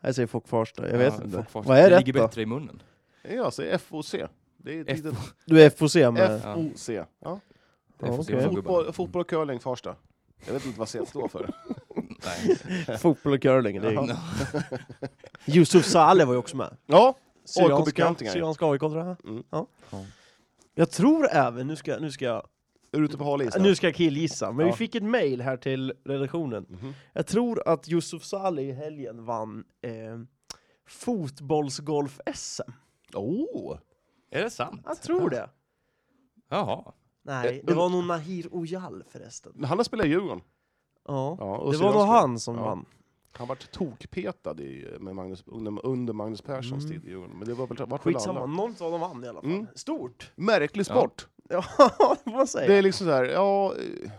Speaker 4: Jag säger Fock Farsta, jag vet
Speaker 2: Ja,
Speaker 4: inte.
Speaker 2: Fock Farsta.
Speaker 4: Vad är
Speaker 2: det
Speaker 4: rätt
Speaker 2: ligger
Speaker 4: då?
Speaker 2: bättre i munnen.
Speaker 3: Jag säger FOC. Det är ett
Speaker 2: F-
Speaker 3: litet...
Speaker 4: Du är FOC med?
Speaker 3: FOC. Ja.
Speaker 2: Det
Speaker 4: Ja,
Speaker 2: får se
Speaker 4: okej.
Speaker 2: vad gubbarna-
Speaker 3: Fotboll, fotboll och curling, Farsta. Jag vet inte vad C står för.
Speaker 2: Nej.
Speaker 4: Fotboll och curling. Det är...
Speaker 2: Ja.
Speaker 4: Yusuf Saleh var ju också med.
Speaker 3: Ja,
Speaker 4: Syrianska,
Speaker 3: AIK-bekantingar.
Speaker 4: Syrianska AIK tror jag.
Speaker 3: Mm.
Speaker 4: Ja.
Speaker 2: Ja.
Speaker 4: Jag tror även, nu ska, nu ska jag
Speaker 3: Är du ute på hal is nu?
Speaker 4: Nu ska jag killgissa, men
Speaker 3: Ja.
Speaker 4: vi fick ett mail här till redaktionen.
Speaker 3: Mhm.
Speaker 4: Jag tror att Yusuf Saleh i helgen vann eh, fotbollsgolf-SM.
Speaker 3: Åh!
Speaker 2: Är det sant?
Speaker 4: Jag tror det.
Speaker 2: Jaha.
Speaker 4: Nej, det var nog Nahir Ojal förresten.
Speaker 3: Han har spelat i Djurgården.
Speaker 4: Ja,
Speaker 3: Ja, och
Speaker 4: det var
Speaker 3: Syrianska.
Speaker 4: nog han som
Speaker 3: Ja.
Speaker 4: vann.
Speaker 3: Han vart tokpetad i, med Magnus, under, under Magnus Perssons
Speaker 4: Mm.
Speaker 3: tid i Djurgården. Men det var väl vart väl
Speaker 4: Skitsamma,
Speaker 3: alla.
Speaker 4: någon av dem vann i alla fall.
Speaker 3: Mm.
Speaker 4: Stort!
Speaker 3: Märklig
Speaker 2: Ja.
Speaker 3: sport.
Speaker 4: Ja, det får man säga.
Speaker 3: Det är liksom så här, ja... eh,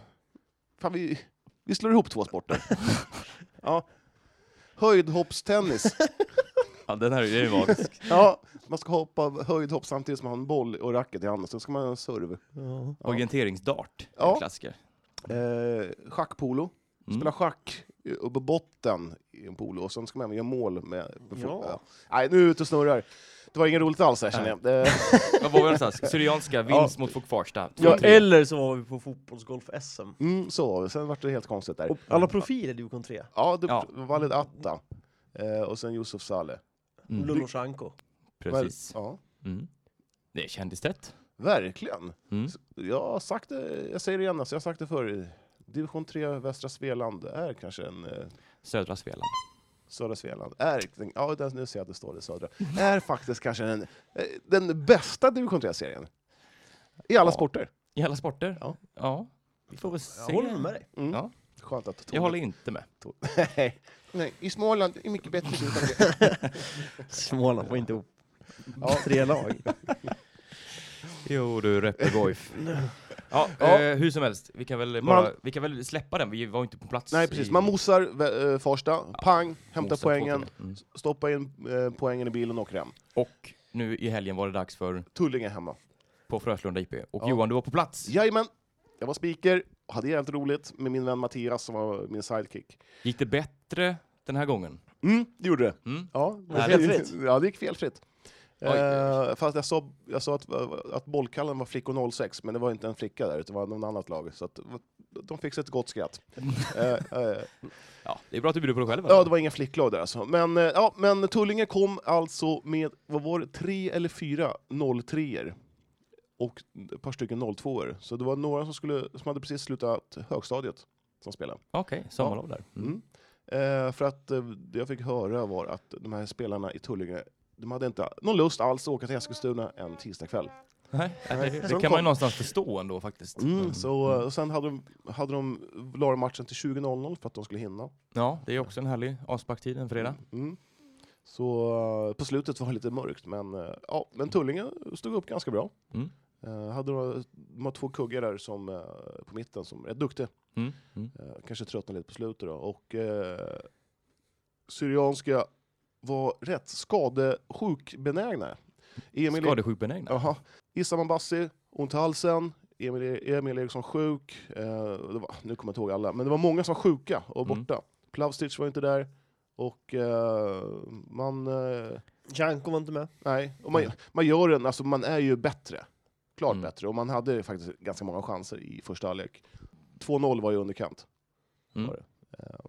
Speaker 3: Fan, vi, vi slår ihop två sporter. ja. Höjdhoppstennis.
Speaker 2: Ja, den här är ju magisk.
Speaker 3: Ja, man ska hoppa höjdhopp samtidigt som man har en boll och racket i handen, sen ska man göra en serve.
Speaker 4: Ja.
Speaker 2: Orienteringsdart,
Speaker 3: Ja.
Speaker 2: en klassiker.
Speaker 3: Eh, schackpolo.
Speaker 2: Mm.
Speaker 3: Spela schack eh, uppe på botten i en polo, och sen ska man även göra mål med... med fot-
Speaker 4: Ja.
Speaker 3: Nej, nu är jag ute och snurrar. Det var inget roligt alls här känner jag. Eh,
Speaker 2: Vad var vi någonstans? Syrianska vinst mot Fok Farsta.
Speaker 4: Ja,
Speaker 2: 2-3.
Speaker 4: eller så var vi på fotbollsgolf-SM.
Speaker 3: mm, så var det. Sen vart det helt konstigt där.
Speaker 4: Och alla profiler i division 3.
Speaker 3: Ja, det
Speaker 2: Ja.
Speaker 3: Walid Atta. Eh, och sen Yusuf Saleh.
Speaker 2: Mm.
Speaker 4: Lulosjanko.
Speaker 2: Precis.
Speaker 3: Ja,
Speaker 2: Mm. Det är kändistätt.
Speaker 3: verkligen.
Speaker 2: Mm.
Speaker 3: Jag har sagt det, jag säger det igen, alltså, jag har sagt det förr. Division 3 Västra Svealand är kanske en... Eh,
Speaker 2: Södra Svealand.
Speaker 3: södra Svealand är... Ja, den, nu ser jag att det står det södra. Är faktiskt kanske den, eh, den bästa division 3-serien. I alla
Speaker 2: Ja.
Speaker 3: sporter.
Speaker 2: I alla sporter?
Speaker 3: Ja.
Speaker 2: ja. Vi får väl se.
Speaker 4: Jag håller med dig.
Speaker 3: Mm.
Speaker 2: Ja.
Speaker 3: Skönt att Tore-
Speaker 2: Jag håller inte med.
Speaker 3: Nej. Nej, i Småland är mycket bättre utan det.
Speaker 4: Småland får inte ihop
Speaker 3: Ja.
Speaker 4: tre lag.
Speaker 2: Jo du, Reppegoif. ja,
Speaker 3: Ja.
Speaker 2: Eh, hur som helst, vi kan, väl bara,
Speaker 3: Man-
Speaker 2: vi kan väl släppa den, vi var ju inte på plats.
Speaker 3: Nej,
Speaker 2: i-
Speaker 3: precis. Man mosar eh, Farsta, pang, hämtar
Speaker 2: Mosar
Speaker 3: poängen,
Speaker 2: 2-3. Mm.
Speaker 3: stoppar in eh, poängen i bilen och åker hem.
Speaker 2: Och nu i helgen var det dags för
Speaker 3: Tullinge hemma.
Speaker 2: På Fröslunda IP. Och
Speaker 3: Ja.
Speaker 2: Johan, du var på plats.
Speaker 3: Jajamän! Jag var speaker, hade jävligt roligt med min vän Mattias som var min sidekick.
Speaker 2: Gick det bättre den här gången?
Speaker 3: Mm, det gjorde det.
Speaker 2: Mm.
Speaker 3: Ja,
Speaker 2: Nej,
Speaker 3: det-
Speaker 4: felfritt.
Speaker 3: Ja, det gick felfritt.
Speaker 2: Oj, oj, oj.
Speaker 3: Eh, fast jag sa, jag sa att, att bollkallen var flickor 06, men det var inte en flicka där, utan det var någon annat lag. Så att, de fick sig ett gott skratt. Eh, eh,
Speaker 2: Ja, det är bra att du bjuder på dig själv.
Speaker 3: Ja, det var inga flicklag där alltså. Men, eh, ja, men Tullinge kom alltså med, vad var det, tre eller fyra 03 och ett par stycken 02 Så det var några som, skulle, som hade precis slutat högstadiet som spelade.
Speaker 2: Okej, sommarlov där. Mm.
Speaker 3: Mm. Eh, för att eh, det jag fick höra var att de här spelarna i Tullinge, de hade inte någon lust alls att åka till Eskilstuna en tisdagkväll.
Speaker 2: Nej, det,
Speaker 3: Sen
Speaker 2: det
Speaker 3: kom-
Speaker 2: kan man ju någonstans förstå ändå faktiskt.
Speaker 3: Mm. Så, eh, och sen hade de, hade de la de matchen till 20.00 för att de skulle hinna.
Speaker 2: Ja, det är också en härlig avsparktid en fredag.
Speaker 3: Mm. Så eh, på slutet var det lite mörkt, men, eh, ja, men Tullinge stod upp ganska bra.
Speaker 2: Mm.
Speaker 3: Eh, hade några, de har två kuggar där som, eh, på mitten som är rätt duktiga.
Speaker 2: Mm. Mm.
Speaker 3: Eh, kanske tröttnade lite på slutet då. Och eh, Syrianska var rätt skadesjukbenägna. Emil,
Speaker 2: Skadesjukbenägna.
Speaker 3: Jaha. Issa Mambassi, ont i halsen. Emil, E-, Emil Eriksson sjuk. Eh, det var, nu kommer jag inte ihåg alla, men det var många som var sjuka och
Speaker 2: Mm.
Speaker 3: borta. Plavstic var inte där. Och eh, man... Eh,
Speaker 4: Janko var inte med.
Speaker 3: nej, och man, man gör en, alltså man är ju bättre. Klart
Speaker 2: Mm.
Speaker 3: bättre. Och man hade faktiskt ganska många chanser i första halvlek. 2-0 var ju underkant.
Speaker 2: Mm.
Speaker 3: Var det. Eh,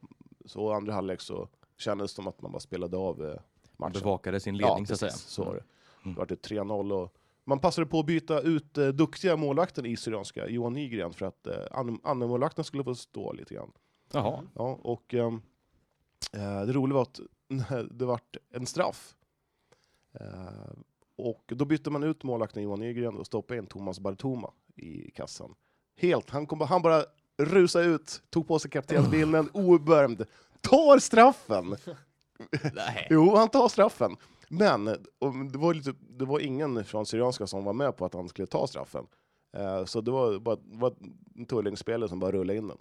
Speaker 3: så i andra halvlek så kändes det som att man bara spelade av eh, matchen.
Speaker 2: Bevakade sin ledning så att säga.
Speaker 3: precis, Så var det.
Speaker 2: Mm.
Speaker 3: Det var det 3-0 och man passade på att byta ut eh, duktiga målvakten i Syrianska, Johan Nygren, för att eh, an- andra målvakten skulle få stå lite grann.
Speaker 2: Jaha.
Speaker 3: Ja, och ehm, eh, det roliga var att det vart en straff. Eh, och då bytte man ut målvakten Johan Nygren och stoppade in Thomas Bartoma i kassan. Helt, han, kom, bara- han bara rusade ut, tog på sig kaptensbilden, obärmd, tar straffen!
Speaker 2: Nej.
Speaker 3: Jo, han tar straffen. Men och det, var lite, det var ingen från Syrianska som var med på att han skulle ta straffen. Eh, så det var bara det var en Tulling-spelare som bara rullade in den.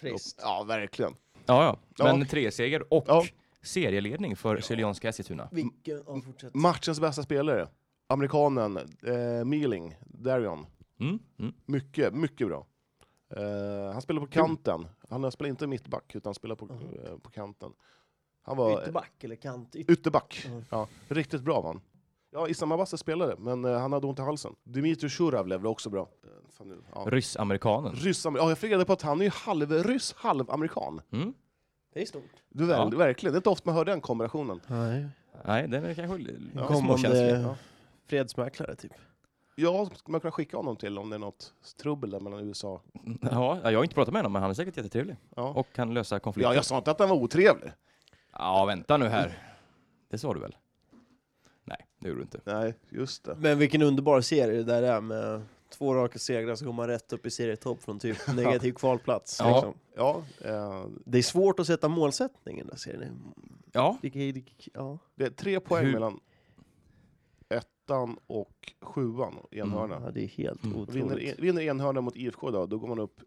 Speaker 4: Trist.
Speaker 3: Ja, verkligen.
Speaker 2: Ja, ja. Men
Speaker 3: Ja.
Speaker 2: tre seger och
Speaker 3: Ja.
Speaker 2: serieledning för Syrianska Eskilstuna.
Speaker 4: Vilken... Ja, fortsätt.
Speaker 3: Matchens bästa spelare, amerikanen eh, Mealing, Darion.
Speaker 2: Mm. Mm.
Speaker 3: Mycket, mycket bra. Eh, han spelar på kanten. Han spelar inte mittback, utan spelar på, eh, på kanten. Han var eh,
Speaker 4: Ytterback eller kant? Yt-
Speaker 3: ytterback.
Speaker 4: Mm.
Speaker 3: Ja, riktigt bra var han. Ja, Issam Abbas spelade, men eh, han hade ont i halsen. Dmitrij Shuravlev var också bra. Eh, fan nu, ja.
Speaker 2: Ryss-amerikanen.
Speaker 3: Ryss, ja, jag fick reda på att han är ju halvryss, halvamerikan.
Speaker 2: Mm.
Speaker 4: Det är stort.
Speaker 3: Du väl,
Speaker 2: Ja.
Speaker 3: Verkligen, det är inte ofta man hör den kombinationen.
Speaker 4: Nej.
Speaker 2: Nej, den är kanske li-
Speaker 3: Ja.
Speaker 2: småkänslig.
Speaker 4: Kommande
Speaker 3: Ja.
Speaker 4: fredsmäklare typ.
Speaker 3: Ja, skulle man kunna skicka honom till om det är något trubbel där mellan USA
Speaker 2: Ja, jag har inte pratat med honom, men han är säkert jättetrevlig.
Speaker 3: Ja.
Speaker 2: Och kan lösa konflikter.
Speaker 3: Ja, jag sa inte att den var otrevlig.
Speaker 2: Ja, vänta nu här. Det sa du väl? Nej, det gjorde du inte.
Speaker 3: Nej, just det.
Speaker 4: Men vilken underbar serie det där är med två raka segrar så går man rätt upp i serietopp från typ negativ kvalplats.
Speaker 2: Ja.
Speaker 4: Liksom.
Speaker 3: Ja, eh,
Speaker 4: Det är svårt att sätta målsättningen där ser ni.
Speaker 2: Ja,
Speaker 4: Det kan- det kan- Ja.
Speaker 3: det är tre poäng
Speaker 2: Hur-
Speaker 3: mellan ettan och sjuan, enhörna.
Speaker 4: ja, det är helt
Speaker 2: Mm.
Speaker 3: Vinner,
Speaker 4: otroligt.
Speaker 3: en- vinner enhörna mot IFK då, då går man upp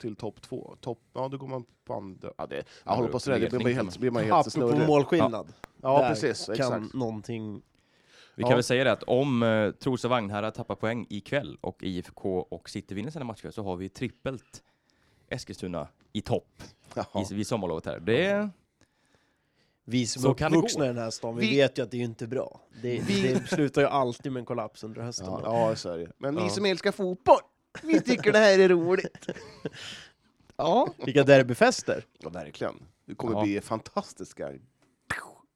Speaker 3: till topp två. Topp, ja, då går man på andra... Ja, det, jag håller på att säga det, blir man helt, blir man helt
Speaker 4: Apropå
Speaker 3: snurrig.
Speaker 4: målskillnad,
Speaker 3: Ja,
Speaker 4: där
Speaker 3: precis.
Speaker 4: kan
Speaker 3: Exakt.
Speaker 4: någonting...
Speaker 2: vi
Speaker 3: Ja.
Speaker 2: kan väl säga det att om eh, Trosa Vagnhärad tappar poäng ikväll och IFK och City vinner sina matcher så har vi trippelt Eskilstuna i topp
Speaker 3: Ja.
Speaker 2: i, vid sommarlovet här. Det är,
Speaker 4: Vi som
Speaker 2: Så
Speaker 4: är
Speaker 2: kan det
Speaker 4: uppvuxna
Speaker 2: gå.
Speaker 4: i den här stan, vi,
Speaker 3: Vi-
Speaker 4: vet ju att det är ju inte bra. Det, det slutar ju alltid med en kollaps under hösten.
Speaker 3: Ja, ja, så är det. Men ni
Speaker 2: Ja.
Speaker 3: som älskar fotboll, vi tycker det här är roligt.
Speaker 2: ja.
Speaker 4: Vilka derbyfester!
Speaker 3: Ja, verkligen. Det kommer
Speaker 2: Ja.
Speaker 3: bli fantastiska.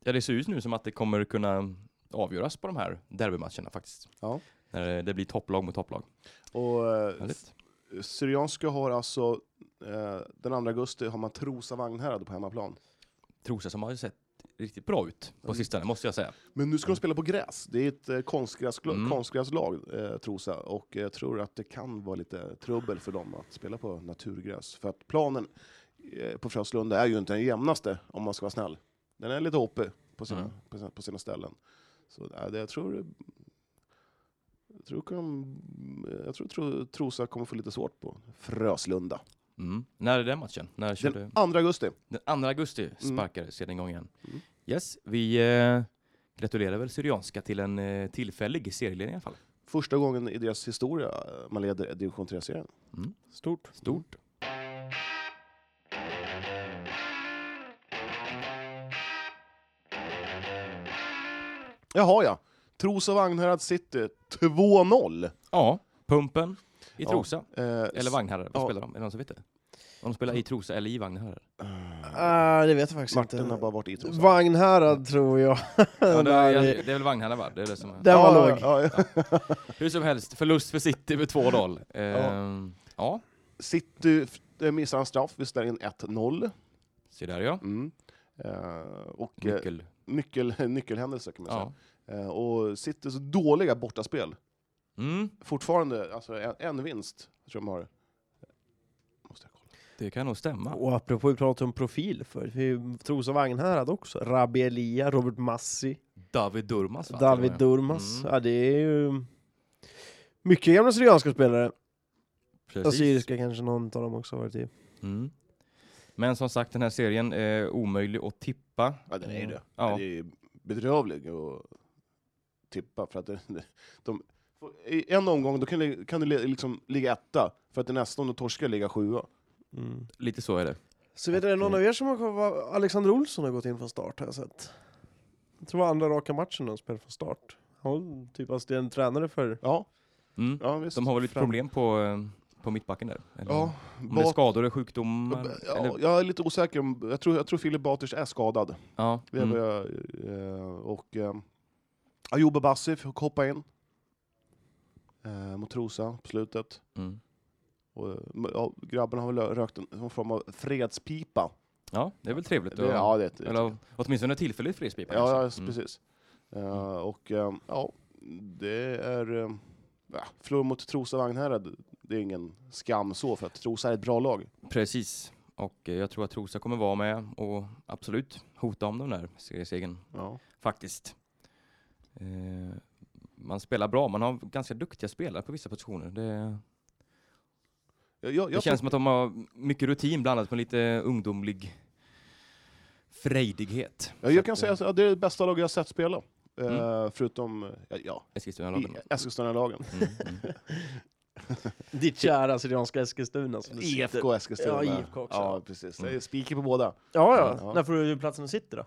Speaker 2: ja, det ser ut nu som att det kommer kunna avgöras på de här derbymatcherna faktiskt.
Speaker 3: Ja.
Speaker 2: När det, det blir topplag mot topplag.
Speaker 3: Och eh,
Speaker 2: Härligt.
Speaker 3: Syrianska har alltså, eh, den 2 augusti har man Trosa Vagnhärad på hemmaplan.
Speaker 2: Trosa som har sett riktigt bra ut
Speaker 3: Mm.
Speaker 2: på sistone, måste jag säga.
Speaker 3: Men nu ska de spela på gräs. Det är ett eh, konstgräsgla-
Speaker 2: Mm.
Speaker 3: konstgräslag, eh, Trosa, och jag tror att det kan vara lite trubbel för dem att spela på naturgräs. För att planen eh, på Fröslunda är ju inte den jämnaste, om man ska vara snäll. Den är lite hoppig på sina,
Speaker 2: Mm.
Speaker 3: på sina, på sina ställen. Så eh, det, jag tror... Jag tror, kan, jag tror, tro, Trosa kommer få lite svårt på Fröslunda.
Speaker 2: Mm. När är den matchen? När kör du?
Speaker 3: Den Mm. 2 augusti.
Speaker 2: Den 2 augusti sparkades sedan igång igen.
Speaker 3: Mm.
Speaker 2: Yes, vi eh, gratulerar väl Syrianska till en eh, tillfällig serieledning i alla fall.
Speaker 3: Första gången i deras historia eh, man leder division 3-serien.
Speaker 2: Mm.
Speaker 4: Stort.
Speaker 2: Stort.
Speaker 3: Jaha ja. Trosa Vagnhärad City Eh, 2-0.
Speaker 2: Ja, Pumpen i
Speaker 3: Ja.
Speaker 2: Trosa.
Speaker 3: Eh,
Speaker 2: Eller Vagnhärad. Vad
Speaker 3: ja.
Speaker 2: spelar de? Är det någon som vet det? Om de spelar i Trosa eller i Vagnhärad?
Speaker 4: Ah, det vet jag faktiskt
Speaker 3: Martin
Speaker 4: inte.
Speaker 3: har bara varit i Trosa.
Speaker 4: Vagnhärad tror jag.
Speaker 2: Ja,
Speaker 4: Den
Speaker 2: det,
Speaker 4: där-
Speaker 2: är, det är väl Vagnhärad va? Det är det som är.
Speaker 4: Den var
Speaker 3: ja,
Speaker 4: låg.
Speaker 3: ja, ja.
Speaker 2: Hur som helst, förlust för City med 2-0. Ehm, ja,
Speaker 3: City eh, missar en straff, vi ställer in 1-0.
Speaker 2: se där ja.
Speaker 3: Mm. Eh, och eh,
Speaker 2: Nyckel.
Speaker 3: nyckel, nyckelhändelse kan man säga.
Speaker 2: Ja.
Speaker 3: Eh, och Citys dåliga bortaspel.
Speaker 2: Mm,
Speaker 3: Fortfarande alltså, en, en vinst, tror jag de har. Måste jag kolla.
Speaker 2: det kan nog stämma.
Speaker 4: Och apropå vi pratade om profil för vi Trosa Vagnhärad också. Rabbi Elia, Robert Massi,
Speaker 2: David Durmaz va?
Speaker 4: David
Speaker 2: Till och med.
Speaker 4: Durmaz.
Speaker 2: Mm.
Speaker 4: Ja, det är ju mycket gamla syrianska spelare.
Speaker 2: Precis.
Speaker 4: Assyriska kanske någon av dem också har varit i.
Speaker 2: Mm. Men som sagt, den här serien är omöjlig att tippa.
Speaker 3: Ja, den är ju det.
Speaker 2: Mm. Ja.
Speaker 3: Den är ju bedrövlig att tippa. För att det- de, I en omgång då kan du, kan du li- liksom ligga etta, för att i nästa om du torskar ligga sjua.
Speaker 4: Mm.
Speaker 2: Lite så är det.
Speaker 4: Så vet du, någon av er som har vad Alexander Olsson har gått in från start har jag sett. Jag tror det var andra raka matchen han spelade från start. Han var typ assisterande tränare för...
Speaker 3: Ja,
Speaker 2: Mm.
Speaker 3: ja visst.
Speaker 2: De har väl lite
Speaker 4: Fram-
Speaker 2: problem på, eh, på mittbacken där? Eller?
Speaker 3: ja,
Speaker 2: Om det är
Speaker 3: bak,
Speaker 2: skador och sjukdomar?
Speaker 3: ja,
Speaker 2: eller,
Speaker 3: jag är lite osäker. om- Jag tror, jag tror Filip Baters är skadad.
Speaker 2: ja.
Speaker 3: Det är
Speaker 2: Mm.
Speaker 3: vad jag, eh, och eh, Ayoub Bassi fick hoppa in. Eh, mot Trosa på slutet.
Speaker 2: Mm.
Speaker 3: Och, eh, ja, grabbarna har väl rökt en- någon form av fredspipa.
Speaker 2: ja, det är väl trevligt.
Speaker 3: Det,
Speaker 2: att-
Speaker 3: ja, det, det,
Speaker 2: eller åtminstone tillfälligt liksom. frispipa.
Speaker 3: Ja, ja
Speaker 2: kanske.
Speaker 3: s- precis. Eh, och eh, ja, det är... Uh, Förlora mot Trosa Vagnhärad, det är ingen skam så, för att Trosa är ett bra lag.
Speaker 2: Mm. Precis. Och eh, jag tror att Trosa kommer vara med och absolut hota om den där seriesegern,
Speaker 3: Ja.
Speaker 2: faktiskt. Eh, man spelar bra, man har ganska duktiga spelare på vissa positioner. Det,
Speaker 3: Jag, jag,
Speaker 2: det
Speaker 3: jag
Speaker 2: känns som att de har mycket rutin blandat med lite ungdomlig frejdighet.
Speaker 3: Ja, jag kan säga att det är det bästa laget jag har sett spela. Eh, Förutom eh, ja,
Speaker 2: Eskilstuna-lagen.
Speaker 3: i Eskilstuna-lagen.
Speaker 2: Mm, mm.
Speaker 4: Ditt kära Syrianska Eskilstuna som du sitter-
Speaker 3: IFK Eskilstuna.
Speaker 4: Ja, IFK också.
Speaker 3: Ja, precis. Det är spiker på båda.
Speaker 4: Ja,
Speaker 3: Ja.
Speaker 4: ja. När får du platsen att sitta då?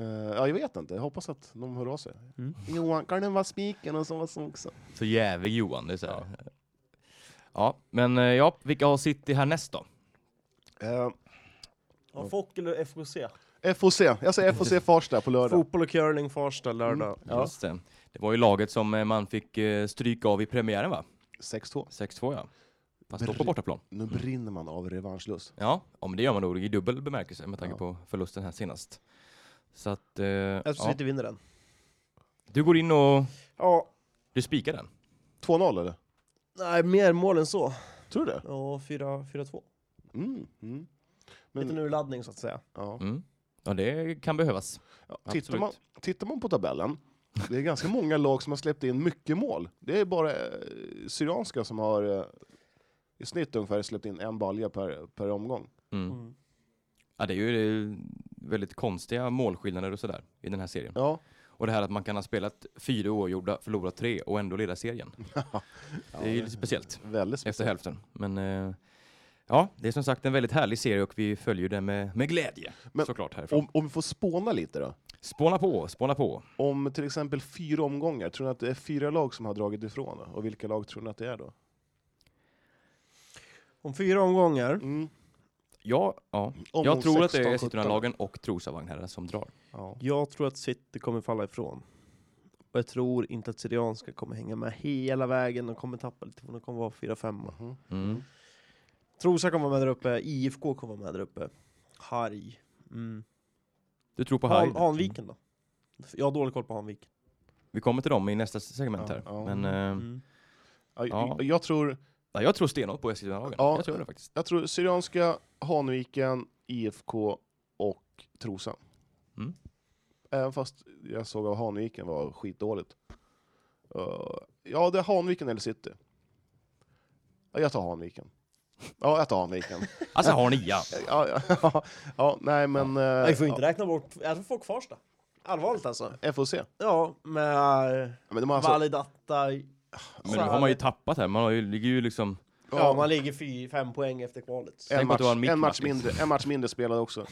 Speaker 3: Eh, ja, jag vet inte. Jag hoppas att de hör av sig.
Speaker 2: Mm.
Speaker 3: Johan, kan det vara spiken och så var så också?
Speaker 2: Så jävig Johan, det är så här. Ja. men eh, ja, vilka har City härnäst då?
Speaker 3: Eh,
Speaker 4: Ja, Fock eller FKC?
Speaker 3: FOC. Jag säger FOC Farsta på lördag.
Speaker 4: Fotboll och curling Farsta lördag.
Speaker 3: Ja.
Speaker 2: Just det. Det var ju laget som eh, man fick eh, stryka av i premiären va?
Speaker 3: 6-2.
Speaker 2: 6-2 ja. Fast då
Speaker 3: Br-
Speaker 2: på bortaplan.
Speaker 3: Nu brinner man av revanschlust.
Speaker 2: Ja, om det gör man då i dubbel bemärkelse med tanke
Speaker 3: Ja.
Speaker 2: på förlusten här senast. Så att, eh,
Speaker 4: Jag tror
Speaker 2: ja.
Speaker 4: City vinner den.
Speaker 2: du går in och
Speaker 4: Ja,
Speaker 2: du spikar den.
Speaker 3: 2-0 eller?
Speaker 4: Nej, mer mål än så.
Speaker 3: Tror du det?
Speaker 4: Och 4-2.
Speaker 3: Mm. Mm.
Speaker 4: Lite
Speaker 3: Men,
Speaker 4: urladdning så att säga.
Speaker 3: ja.
Speaker 2: Mm. Ja, det kan behövas.
Speaker 3: Ja,
Speaker 2: Absolut.
Speaker 3: tittar, man, tittar man på tabellen, det är ganska många lag som har släppt in mycket mål. Det är bara eh, Syrianska som har eh, i snitt ungefär släppt in en balja per, per omgång.
Speaker 2: Mm. Ja, det är ju eh, väldigt konstiga målskillnader och sådär i den här serien.
Speaker 3: Ja,
Speaker 2: Och det här att man kan ha spelat fyra oavgjorda, förlorat tre och ändå leda serien. det är ju lite speciellt.
Speaker 3: väldigt
Speaker 2: efter
Speaker 3: speciellt.
Speaker 2: hälften. Men eh, ja, det är som sagt en väldigt härlig serie och vi följer den med, med glädje
Speaker 3: Men
Speaker 2: såklart härifrån.
Speaker 3: Om, om vi får spåna lite då.
Speaker 2: Spåna på, spåna på.
Speaker 3: Om till exempel fyra omgångar, tror ni att det är fyra lag som har dragit ifrån? Då? Och vilka lag tror ni att det är då?
Speaker 4: Om fyra omgångar.
Speaker 3: Mm.
Speaker 2: Ja, ja.
Speaker 3: Omgång
Speaker 2: Jag tror att det
Speaker 3: 16,
Speaker 2: är
Speaker 3: 17.
Speaker 2: Sigtunalagen och Trosa Vagnherrarna som drar.
Speaker 3: Ja.
Speaker 4: Jag tror att City kommer falla ifrån. Och jag tror inte att Syrianska kommer hänga med hela vägen. De kommer tappa lite, för de kommer vara 4-5.
Speaker 3: Mhm.
Speaker 2: Mm.
Speaker 4: Trosa kommer vara med där uppe, IFK kommer vara med där uppe. Harg. Mm.
Speaker 2: Du tror på liksom.
Speaker 4: Han,
Speaker 2: Hayd?
Speaker 4: Hanviken då? Jag har dålig koll på Hanviken.
Speaker 2: Vi kommer till dem i nästa segment
Speaker 3: Ja,
Speaker 2: här.
Speaker 3: ja.
Speaker 2: Men eh,
Speaker 4: Mm.
Speaker 3: Ja,
Speaker 2: Ja.
Speaker 3: jag- Jag, tror,
Speaker 2: ja, jag tror stenhårt på Sigtunalagen.
Speaker 3: Ja.
Speaker 2: Jag tror det faktiskt.
Speaker 3: jag tror Syrianska, Hanviken, IFK och Trosa.
Speaker 2: Mm.
Speaker 3: Även fast jag såg att Hanviken var skitdåligt. Uh, ja, det är Hanviken eller City. Ja, jag tar Hanviken. Ja, jag tar Hanviken.
Speaker 2: Alltså har nia.
Speaker 3: ja, ja, ja, ja, nej men... eh,
Speaker 4: Nej, vi får inte räkna bort, jag tror folk Farsta. Allvarligt alltså.
Speaker 3: ja, FOC. Ja,
Speaker 4: Ja, med
Speaker 3: Men de har alltså,
Speaker 4: Validatta.
Speaker 2: Men nu har man ju tappat här. Man har ju, ligger ju liksom...
Speaker 4: Ja, man ligger fy, fem poäng efter kvalet.
Speaker 3: en,
Speaker 2: Tänk på att
Speaker 3: match,
Speaker 2: det var en
Speaker 3: en, match
Speaker 2: mittmatch, liksom.
Speaker 3: mindre, en match mindre spelade också.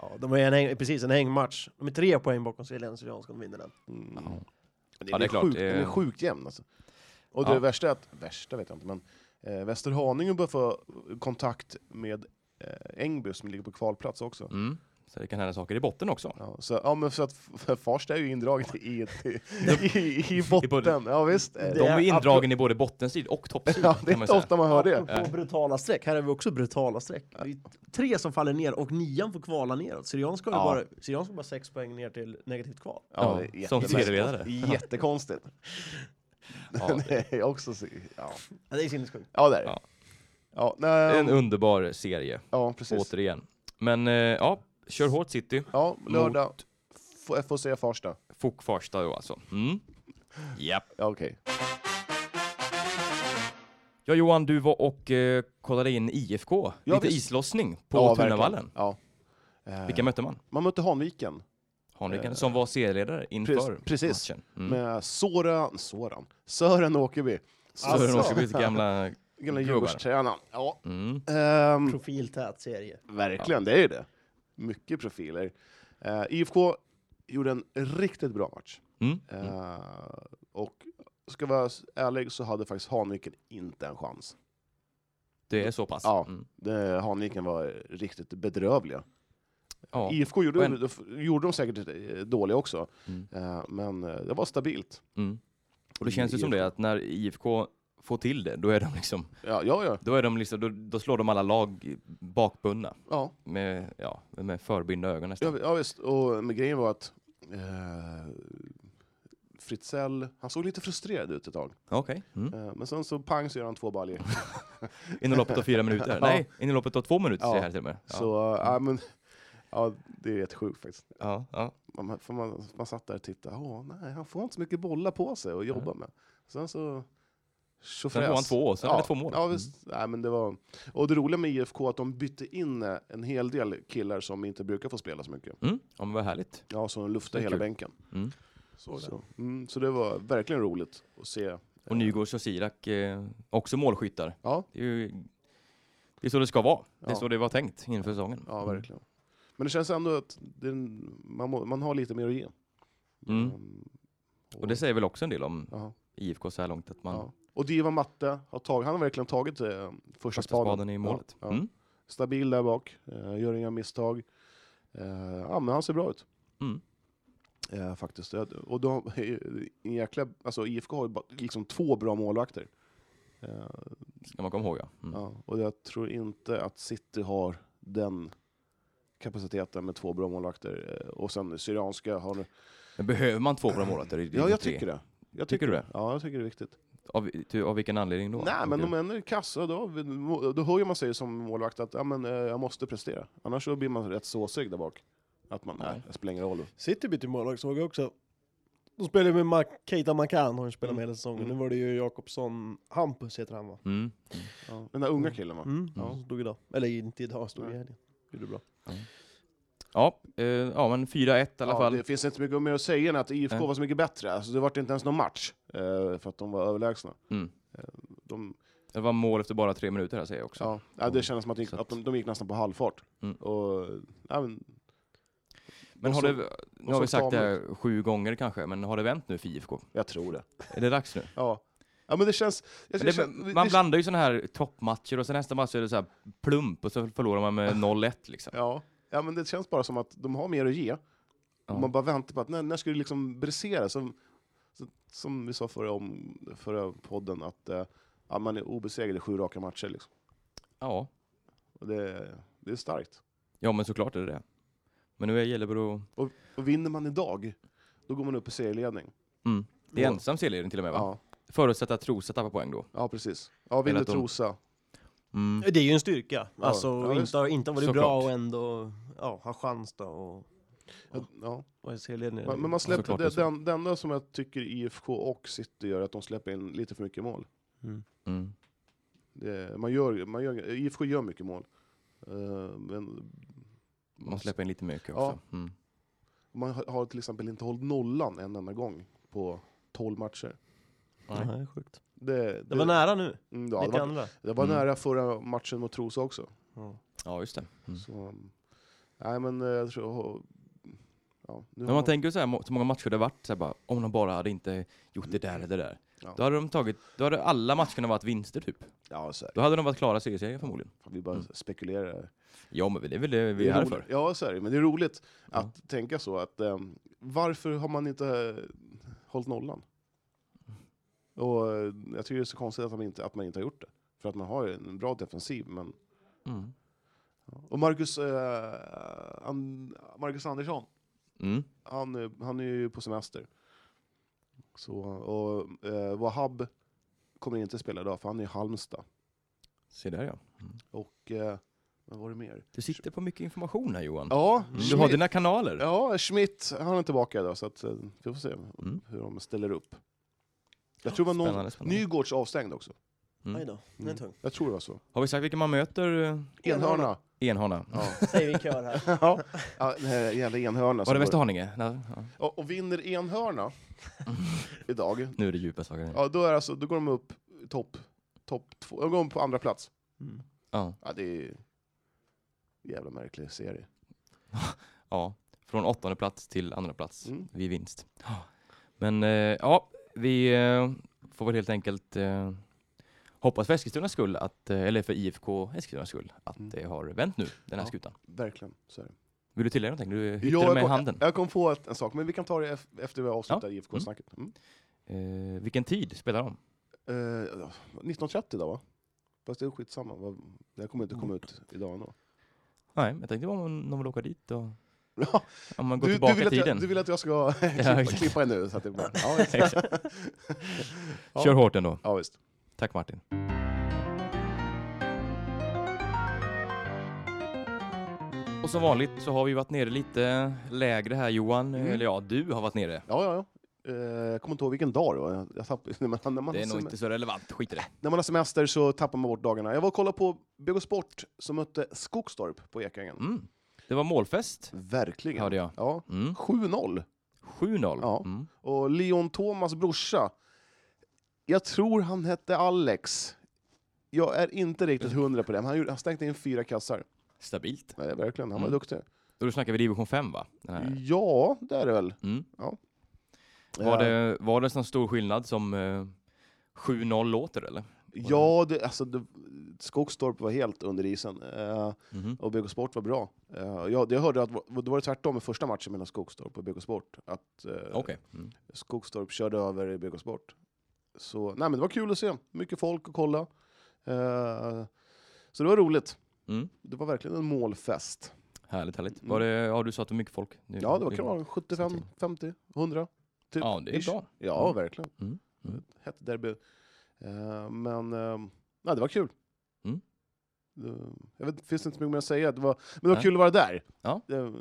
Speaker 4: Ja, de är en häng, precis en hängmatch. De är tre poäng bakom Siljan Syrianska om de vinner den.
Speaker 3: Mm.
Speaker 2: Ja.
Speaker 3: Men
Speaker 2: Ja, det är klart,
Speaker 3: Sjukt,
Speaker 2: det är-
Speaker 3: Den är sjukt jämn alltså. Och det
Speaker 2: Ja.
Speaker 3: värsta är att, värsta vet jag inte, men eh, Västerhaninge bör få kontakt med eh, Ängby som ligger på kvalplats också.
Speaker 2: Mm. Så det kan hända saker i botten också.
Speaker 3: Ja, så, ja, men så att för Farsta är ju indraget i, ett, i, i, i botten. Ja, visst. Eh,
Speaker 2: De
Speaker 4: är
Speaker 2: är indragen i både bottenstrid och toppstrid
Speaker 3: Ja, det är
Speaker 2: kan man
Speaker 3: inte
Speaker 2: säga.
Speaker 3: ofta man hör det.
Speaker 4: Apropå brutala streck, här är vi också brutala streck. Det är tre som faller ner och nian får kvala neråt. Syrianska har ju
Speaker 3: Ja.
Speaker 4: bara, Syrianska har bara sex poäng ner till negativt kval.
Speaker 2: Ja,
Speaker 3: det är
Speaker 2: som
Speaker 3: jättemärkligt.
Speaker 2: serieledare.
Speaker 3: Jättekonstigt.
Speaker 2: Ja,
Speaker 3: det är också, så- ja.
Speaker 4: Ja, det är sinnessjukt.
Speaker 3: ja, det är det.
Speaker 2: Ja.
Speaker 3: Ja, nej,
Speaker 2: En underbar serie.
Speaker 3: ja precis.
Speaker 2: återigen. Men eh, ja, kör hårt City.
Speaker 3: Ja, lördag. F- FOC Farsta.
Speaker 2: Fok Farsta då alltså. Mm. Japp.
Speaker 3: Ja, okej.
Speaker 2: Ja Johan, du var och eh, kollade in IFK.
Speaker 3: Ja,
Speaker 2: Lite
Speaker 3: visst.
Speaker 2: islossning på
Speaker 3: ja,
Speaker 2: Tunavallen.
Speaker 3: verkligen. Ja. Eh,
Speaker 2: Vilka mötte man?
Speaker 3: Man mötte Hanviken
Speaker 2: Hanviken,
Speaker 3: Eh,
Speaker 2: som var serieledare inför
Speaker 3: precis- precis.
Speaker 2: matchen. Mm.
Speaker 3: med Soran, Soran, Sören Åkerby.
Speaker 2: Sören
Speaker 4: Alltså.
Speaker 2: Åkerbys gamla...
Speaker 3: Gamla
Speaker 2: gubbar.
Speaker 3: Djurgårdstränaren. Ja,
Speaker 2: Mm.
Speaker 3: ehm,
Speaker 4: Profiltät serie.
Speaker 3: verkligen, det är ju det. Mycket profiler. Eh, IFK gjorde en riktigt bra match.
Speaker 2: Mm.
Speaker 3: Eh,
Speaker 2: Mm.
Speaker 3: Och ska vara s- ärlig så hade faktiskt Hanviken inte en chans.
Speaker 2: Det är så pass.
Speaker 3: Ja.
Speaker 2: Mm.
Speaker 3: Det, Hanviken var riktigt bedrövliga.
Speaker 2: Ja.
Speaker 3: IFK gjorde,
Speaker 2: Och en-
Speaker 3: då f- gjorde de säkert eh, dåliga också,
Speaker 2: Mm.
Speaker 3: eh, men eh, det var stabilt.
Speaker 2: Mm. Och det känns ju som
Speaker 3: IFK.
Speaker 2: det att när IFK får till det, då är de liksom,
Speaker 3: Ja, ja, ja.
Speaker 2: då, är de liksom, då, då slår de alla lag bakbundna
Speaker 3: ja.
Speaker 2: med, ja, med förbindda ögon nästan.
Speaker 3: Ja, ja visst, och men grejen var att eh, Fritzell, han såg lite frustrerad ut ett tag.
Speaker 2: Okej. Mm.
Speaker 3: Eh, men sen så pang så gör han två baljor.
Speaker 2: Inom loppet av fyra minuter?
Speaker 3: Ja.
Speaker 2: Nej, inom loppet av två minuter
Speaker 3: Ja.
Speaker 2: säger jag här till och med. Ja.
Speaker 3: Så eh, ja, men, ja, det är rätt sjukt faktiskt.
Speaker 2: Ja, ja.
Speaker 3: Man, för man, man satt där och tittade, Åh, nej, han får inte så mycket bollar på sig att jobba med. Sen så...
Speaker 2: Sen
Speaker 3: Sen
Speaker 2: får han två år, sen är det två mål. Mm.
Speaker 3: Ja, visst. Nej, men det var... Och det roliga med IFK är att de bytte in eh, en hel del killar som inte brukar få spela så mycket.
Speaker 2: Mm. ja, men vad härligt.
Speaker 3: Ja, så de luftade
Speaker 2: Det är
Speaker 3: hela
Speaker 2: kul.
Speaker 3: bänken.
Speaker 2: Mm.
Speaker 3: Så, mm, så det var verkligen roligt att se. eh,
Speaker 2: Och Nygårds och Sirak, eh, också målskyttar.
Speaker 3: Ja,
Speaker 2: Det är ju det är så det ska vara. Det är
Speaker 3: Ja.
Speaker 2: så det var tänkt inför säsongen.
Speaker 3: Ja, verkligen. Men det känns ändå att det, är en- man, må, man har lite mer att ge.
Speaker 2: Mm.
Speaker 3: Ehm,
Speaker 2: Och det säger väl också en del om
Speaker 3: ja,
Speaker 2: IFK så här långt, att man
Speaker 3: ja. Och Diva Matte, har tagit, han har verkligen tagit eh, första
Speaker 2: första
Speaker 3: spaden.
Speaker 2: spaden i målet.
Speaker 3: Ja, ja.
Speaker 2: Mm.
Speaker 3: Stabil där bak, eh, gör inga misstag. Eh, ja, men han ser bra ut.
Speaker 2: Mm.
Speaker 3: Eh, faktiskt. Eh, Och de, en jäkla, alltså IFK har ju bara, liksom två bra målvakter.
Speaker 2: Mm.
Speaker 3: Eh,
Speaker 2: Ska man komma ihåg ja. Mm.
Speaker 3: ja, och jag tror inte att City har den kapaciteten med två bra målvakter. Eh, Och sen Syrianska har
Speaker 2: Men behöver man två bra målvakter? i- i
Speaker 3: Ja, jag
Speaker 2: tre?
Speaker 3: tycker det. Jag
Speaker 2: Tycker du det?
Speaker 3: Ja, jag tycker det är viktigt.
Speaker 2: Av, ty- av vilken anledning då?
Speaker 3: Nej, men
Speaker 2: Tycker
Speaker 3: om en är kassa, då, då hör ju man sig som målvakt att ja, men, eh, jag måste prestera. Annars så blir man rätt såsig där bak. Att man, nej,
Speaker 2: Nej.
Speaker 3: det spelar ingen roll.
Speaker 4: City bytte målvakt såg jag också. De spelade ju med Ma- Keita Makan, har ju spelat med hela säsongen.
Speaker 3: Mm.
Speaker 4: Nu var det ju Jakobsson, Hampus heter han va?
Speaker 2: du? Mm.
Speaker 3: Ja. Den där unga killen va?
Speaker 4: Mm.
Speaker 2: Ja.
Speaker 4: Som stod idag. Eller inte idag, stod i
Speaker 3: Nej.
Speaker 4: helgen. Gjorde bra.
Speaker 2: Ja, eh, ja, men 4-1 i alla
Speaker 3: ja,
Speaker 2: fall.
Speaker 3: Det finns inte mycket mer att säga än att IFK
Speaker 2: Nej.
Speaker 3: var så mycket bättre. Alltså, det var inte ens någon match eh, för att de var överlägsna.
Speaker 2: Mm.
Speaker 3: De,
Speaker 2: Det var mål efter bara tre minuter här säger jag också.
Speaker 3: ja, ja, det kändes som att de gick,
Speaker 2: Så att-
Speaker 3: att de, de gick nästan på halvfart.
Speaker 2: Mm.
Speaker 3: Och, ja, men,
Speaker 2: Men
Speaker 3: Och
Speaker 2: har
Speaker 3: så-
Speaker 2: det, nu har
Speaker 3: så
Speaker 2: vi sagt det
Speaker 3: stamen.
Speaker 2: här sju gånger kanske, men har det vänt nu för IFK?
Speaker 3: jag tror det.
Speaker 2: Är det dags nu?
Speaker 3: Ja. ja, men det känns... Jag,
Speaker 2: Men det,
Speaker 3: känns-
Speaker 2: man blandar ju sådana här toppmatcher och sen nästa match är det så här plump och så förlorar man med 0-1 liksom.
Speaker 3: Ja. ja, men det känns bara som att de har mer att ge.
Speaker 2: Ja.
Speaker 3: Och man bara väntar på att när, när ska det liksom brisera? Som, så- som vi sa förra, om, förra podden, att eh, ja, man är obesegrad i sju raka matcher. Liksom.
Speaker 2: Ja.
Speaker 3: Och det, det är starkt.
Speaker 2: ja, men såklart är det det. Men nu är Gällibro
Speaker 3: Och vinner man idag, då går man upp i serieledning.
Speaker 2: mm. Det är
Speaker 3: Ja.
Speaker 2: ensam serieledning till och med va?
Speaker 3: Ja,
Speaker 2: Förutsatt att Trosa tappar poäng då.
Speaker 3: ja precis. Ja, vinner
Speaker 2: att de-
Speaker 3: Trosa.
Speaker 2: Mm.
Speaker 4: Det är ju en styrka. Alltså,
Speaker 3: Ja,
Speaker 4: och
Speaker 3: visst.
Speaker 4: inte, inte ha varit
Speaker 2: Såklart.
Speaker 4: bra och ändå ja, ha chans då. Och,
Speaker 3: Ja. Ja.
Speaker 4: och se ledningen.
Speaker 3: Men, men man släpper,
Speaker 2: Såklart
Speaker 3: det,
Speaker 2: det är så.
Speaker 3: den, det enda som jag tycker IFK och City gör är att de släpper in lite för mycket mål.
Speaker 2: Mm.
Speaker 3: Det, man gör, man gör, IFK gör mycket mål. Eh, men
Speaker 2: Man släpper in lite mycket också. Mm.
Speaker 3: man har- har till exempel inte hållit nollan en enda gång på 12 matcher.
Speaker 2: Nej.
Speaker 4: Nej, sjukt.
Speaker 3: Det, det,
Speaker 4: Det var nära nu,
Speaker 3: Mm, ja, det
Speaker 4: lite
Speaker 3: var,
Speaker 4: andra.
Speaker 3: det var
Speaker 2: Mm.
Speaker 3: nära förra matchen mot Trosa också.
Speaker 4: Ja.
Speaker 2: Ja, just det. Mm.
Speaker 3: Så, um, nej, men eh, jag tror... Ja, nu
Speaker 2: Men
Speaker 3: har
Speaker 2: man tänker så här, må- så många matcher det har varit så här bara, om de bara hade inte gjort det där eller det där.
Speaker 3: Ja.
Speaker 2: Då hade de tagit, då hade alla matcherna varit vinster typ.
Speaker 3: ja, så här,
Speaker 2: Då hade de varit klara seriesegrar förmodligen.
Speaker 3: fan, vi bara
Speaker 2: Mm.
Speaker 3: spekulerar.
Speaker 2: Ja, men det är väl det vi är här
Speaker 3: roligt.
Speaker 2: för.
Speaker 3: Ja, så är det. Men det är roligt
Speaker 2: Ja.
Speaker 3: att tänka så. Att, ehm, varför har man inte uh, hållit nollan? Och, eh, jag tycker det är så konstigt att man, inte, att man inte har gjort det. För att man har ju en bra defensiv, men
Speaker 2: Mm.
Speaker 3: Och Marcus, eh, An- Marcus Andersson,
Speaker 2: Mm.
Speaker 3: han, eh, han är ju på semester. Så, och eh, Wahab kommer inte spela idag, för han är i Halmstad.
Speaker 2: Se där ja.
Speaker 3: Och, eh, vad var det mer?
Speaker 2: Du sitter på mycket information här Johan.
Speaker 3: Ja,
Speaker 2: Mm. Du har
Speaker 3: Schmidt,
Speaker 2: dina kanaler.
Speaker 3: ja, Schmidt, han är tillbaka idag, så att, eh, vi får se
Speaker 2: Mm.
Speaker 3: hur de ställer upp. Jag tror det var någon,
Speaker 2: Spännande, spännande.
Speaker 3: Nygårds avstängd också.
Speaker 2: Mm.
Speaker 4: Aj då, den är tung.
Speaker 3: Jag tror det var så.
Speaker 2: Har vi sagt vilka man möter? eh,
Speaker 3: Enhörna.
Speaker 2: Enhörna.
Speaker 3: Ja.
Speaker 4: Säger vi i kör här.
Speaker 3: ja, den här jävla enhörna. som
Speaker 2: alltså, Var det
Speaker 3: går-
Speaker 2: Västerhaninge? Nej, ja.
Speaker 3: Ja, och vinner enhörna idag,
Speaker 2: Nu är det djupa saker. Ja.
Speaker 3: Ja, då, är alltså, då går de upp i topp top två. De går de på andra plats.
Speaker 4: Mm.
Speaker 2: Ja.
Speaker 3: Ja, det är en jävla märklig serie.
Speaker 2: Från åttonde plats till andra plats.
Speaker 3: Mm.
Speaker 2: Vid vinst. Ja. Men eh, ja, vi eh, får väl helt enkelt eh, hoppas för Eskilstunas skull, att, eh, eller för IFK Eskilstunas skull, att
Speaker 3: Mm.
Speaker 2: det har vänt nu, den här
Speaker 3: Ja.
Speaker 2: skutan.
Speaker 3: Verkligen. Så är det.
Speaker 2: Vill du tillägga någonting? Du
Speaker 3: Ja,
Speaker 2: hytter med
Speaker 3: kom,
Speaker 2: handen.
Speaker 3: Jag kom på ett, en sak, men vi kan ta det ef- efter vi har avslutat IFK-snacket. Mm.
Speaker 2: Eh, vilken tid spelar de?
Speaker 3: Eh, ja, 1930 då va? Fast det är skitsamma, vad- det här kommer inte komma ut idag ändå.
Speaker 2: Nej, men jag tänkte bara om de vill åka dit och
Speaker 3: Ja,
Speaker 2: om man går
Speaker 3: du, du,
Speaker 2: tillbaka
Speaker 3: vill
Speaker 2: i
Speaker 3: att
Speaker 2: tiden.
Speaker 3: jag, du vill att jag ska klippa,
Speaker 2: exakt.
Speaker 3: klippa er nu? Så att det blir, ja, visst. Ja.
Speaker 2: Kör hårt ändå.
Speaker 3: ja, visst.
Speaker 2: Tack Martin. Och som vanligt så har vi varit nere lite lägre här Johan,
Speaker 3: Mm.
Speaker 2: eller ja, du har varit nere.
Speaker 3: Ja, ja, ja. Eh, Jag kommer inte ihåg vilken dag det var. Jag- Jag tappade, när man, när man
Speaker 2: Det är
Speaker 3: har
Speaker 2: nog
Speaker 3: sem-
Speaker 2: inte så relevant, skit i det.
Speaker 3: när man har semester så tappar man bort dagarna. Jag var och kollade på BK Sport som mötte Skogstorp på Ekängen.
Speaker 2: Mm. Det var målfest,
Speaker 3: Verkligen.
Speaker 2: hörde jag.
Speaker 3: Ja,
Speaker 2: Mm.
Speaker 3: 7-0.
Speaker 2: 7-0.
Speaker 3: Ja.
Speaker 2: Mm.
Speaker 3: Och Leon Thomas brorsa, jag tror han hette Alex. Jag är inte riktigt hundra på det, men han, gjorde, han slängde in fyra kassar.
Speaker 2: Stabilt.
Speaker 3: Nej, verkligen, han var
Speaker 2: Mm.
Speaker 3: duktig.
Speaker 2: Och då snackar vi division 5 va? Den
Speaker 3: Mm.
Speaker 2: här.
Speaker 3: Ja, det är det väl.
Speaker 2: Mm.
Speaker 3: Ja.
Speaker 2: Var,
Speaker 3: Eh,
Speaker 2: det, var det sån stor skillnad som eh, 7-0 låter eller?
Speaker 3: Ja, det, alltså, det, Skogstorp var helt under isen. Eh,
Speaker 2: Mhm.
Speaker 3: Och BK Sport var bra. Eh, jag, jag hörde att det var tvärtom i första matchen mellan Skogstorp och BK Sport. Att, eh,
Speaker 2: Okej. Mm.
Speaker 3: Skogstorp körde över BK Sport. Så nej, men det var kul att se. Mycket folk att kolla. Eh, så det var roligt.
Speaker 2: Mm.
Speaker 3: Det var verkligen en målfest.
Speaker 2: Härligt, härligt. Var det, ja, du sa att det var mycket folk. Nu,
Speaker 3: Mm. Ja, det var
Speaker 2: Mm.
Speaker 3: kul. 75,
Speaker 2: Samtidigt.
Speaker 3: 50, 100. Typ,
Speaker 2: Ja, det är
Speaker 3: ish.
Speaker 2: bra.
Speaker 3: Ja,
Speaker 2: Mm.
Speaker 3: verkligen.
Speaker 2: Mm, mm.
Speaker 3: Hett derby. Eh, men eh, nej, det var kul.
Speaker 2: Mm.
Speaker 3: Det- jag vet, finns inte så mycket mer att säga. Det var, men det var
Speaker 2: Nej.
Speaker 3: kul att vara där.
Speaker 2: Ja.
Speaker 3: Det,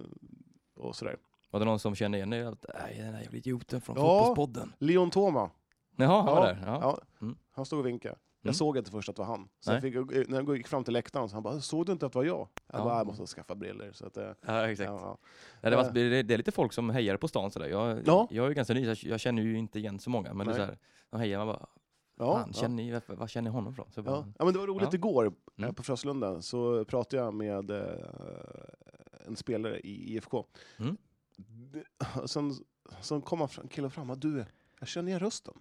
Speaker 3: och sådär.
Speaker 2: Var det någon som kände igen dig? Att, "Aj, Den där jävla idioten från
Speaker 3: Ja.
Speaker 2: Fotbollspodden.
Speaker 3: Leon Toma.
Speaker 2: Jaha, han var
Speaker 3: Ja,
Speaker 2: där. Ja.
Speaker 3: Ja.
Speaker 2: Mm.
Speaker 3: Han stod och vinkade. Jag
Speaker 2: Mm.
Speaker 3: såg inte först att det var han. Sen
Speaker 2: Nej.
Speaker 3: fick jag, när jag gick fram till läktaren så han bara ”Såg du inte att det var jag?” Jag
Speaker 2: Ja.
Speaker 3: bara ”Jag måste skaffa briller”. Så att, eh,
Speaker 2: Ja, exakt.
Speaker 3: ja, ja.
Speaker 2: Ja, det, var,
Speaker 3: Eh.
Speaker 2: det, det är lite folk som hejar på stan sådär. Jag,
Speaker 3: Ja.
Speaker 2: jag är ju ganska ny, så jag, jag känner ju inte igen så många. Men det är
Speaker 3: Nej.
Speaker 2: såhär, de hejar, man bara,
Speaker 3: Ja,
Speaker 2: fan,
Speaker 3: ja.
Speaker 2: Känner ni, varför, var känner ni honom från? Så jag
Speaker 3: Ja.
Speaker 2: bara,
Speaker 3: ja, men det var roligt
Speaker 2: Ja.
Speaker 3: igår eh,
Speaker 2: Mm.
Speaker 3: på Fröslunda så pratade jag med eh, en spelare i IFK.
Speaker 2: Mm.
Speaker 3: Det- Sen, sen kom han fram- killen fram och du, jag känner igen rösten.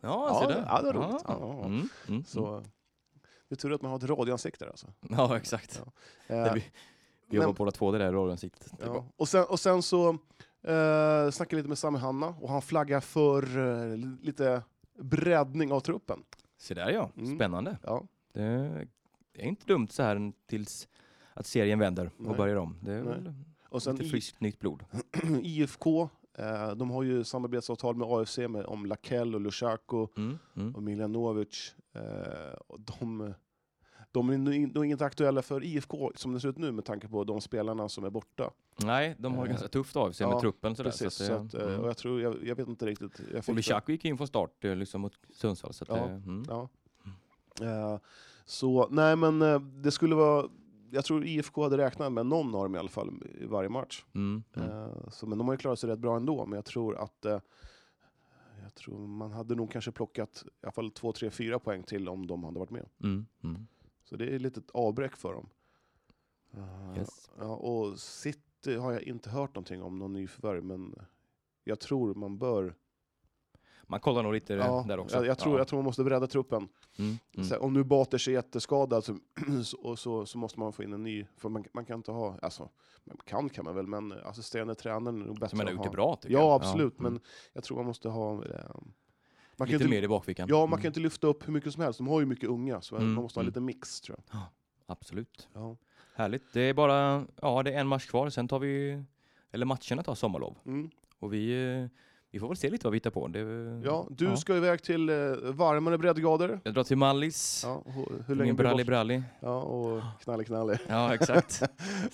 Speaker 2: ja,
Speaker 3: Ja,
Speaker 2: se
Speaker 3: det-
Speaker 2: där.
Speaker 3: ja, det var roligt.
Speaker 2: Ja,
Speaker 3: Ja, ja.
Speaker 2: Mm, mm,
Speaker 3: Så, Det är tur att man har ett radioansikte där, alltså.
Speaker 2: mm. ja exakt.
Speaker 3: Ja.
Speaker 2: Det
Speaker 3: Eh,
Speaker 2: blir- Vi jobbar
Speaker 3: men-
Speaker 2: båda två det där radioansiktet. Det är
Speaker 3: Ja.
Speaker 2: bra.
Speaker 3: Och, sen, och sen så eh, snackade jag lite med Sami Hanna och han flaggar för eh, li- lite breddning av truppen.
Speaker 2: Se där ja,
Speaker 3: Mm.
Speaker 2: spännande.
Speaker 3: Ja.
Speaker 2: Det är inte dumt så här tills att serien vänder och
Speaker 3: Nej.
Speaker 2: börjar om. Det är
Speaker 3: Nej.
Speaker 2: väl
Speaker 3: Och sen
Speaker 2: lite
Speaker 3: I,
Speaker 2: friskt nytt blod.
Speaker 3: IFK, eh, de har ju samarbetsavtal med AFC med, om Lakell och Lushako
Speaker 2: Mm, mm.
Speaker 3: och Miljanovic. Eh, och de, de är nog in- nog inte aktuella för IFK som det ser ut nu med tanke på de spelarna som är borta.
Speaker 2: Nej, de har
Speaker 3: Eh,
Speaker 2: ganska tufft av sig
Speaker 3: ja,
Speaker 2: med truppen. Sådär,
Speaker 3: Precis,
Speaker 2: att
Speaker 3: så att, eh,
Speaker 2: mm.
Speaker 3: och jag, tror, jag, jag vet inte riktigt. Jag
Speaker 2: Och
Speaker 3: fick-
Speaker 2: Lukaku gick in från start eh, liksom mot Sundsvall. Så att,
Speaker 3: Ja,
Speaker 2: eh, mm.
Speaker 3: Ja. Eh, så nej, men eh, det skulle vara... Jag tror IFK hade räknat med någon av dem i alla fall i varje match.
Speaker 2: Mm, mm.
Speaker 3: Eh, så, men de har ju klarat sig rätt bra ändå, men jag tror att... Eh, jag tror man hade nog kanske plockat i alla fall två, tre, fyra poäng till om de hade varit med.
Speaker 2: Mm, mm.
Speaker 3: Så det är ett litet avbräck för dem. Eh,
Speaker 2: Yes.
Speaker 3: ja, och City har jag inte hört någonting om, någon nyförvärv, men jag tror man bör...
Speaker 2: Man kollar nog lite eh,
Speaker 3: Ja,
Speaker 2: där också.
Speaker 3: jag, jag, tror,
Speaker 2: ja.
Speaker 3: jag tror man måste bredda truppen.
Speaker 2: Mm, mm.
Speaker 3: Så här, om nu Baters är jätteskadad så, så, så, så måste man få in en ny, för man, man kan inte ha, alltså, man kan kan man väl, men assisterande tränaren är nog bättre
Speaker 2: Som ändå
Speaker 3: att
Speaker 2: gjort
Speaker 3: ha.
Speaker 2: det bra tycker jag.
Speaker 3: Ja, absolut,
Speaker 2: mm.
Speaker 3: men jag tror man måste ha... eh, man
Speaker 2: lite
Speaker 3: kan inte,
Speaker 2: mer i bakfickan.
Speaker 3: Ja, man
Speaker 2: Mm,
Speaker 3: kan inte lyfta upp hur mycket som helst, de har ju mycket unga, så
Speaker 2: Mm,
Speaker 3: man måste ha
Speaker 2: mm.
Speaker 3: lite mix tror jag.
Speaker 2: Absolut.
Speaker 3: Ja.
Speaker 2: Härligt. Det är bara ja, det är en match kvar, sen tar vi, eller matcherna tar sommarlov.
Speaker 3: Mm.
Speaker 2: Och vi, eh, vi får väl se lite vad vi hittar på. Det,
Speaker 3: ja, du ska iväg till eh, varmare breddgrader.
Speaker 2: Jag drar till Mallis,
Speaker 3: Ja, och hur, hur länge
Speaker 2: min
Speaker 3: blir du
Speaker 2: Bralli
Speaker 3: borta?
Speaker 2: Bralli.
Speaker 3: Ja, och knalle knalle.
Speaker 2: Ja, exakt. Så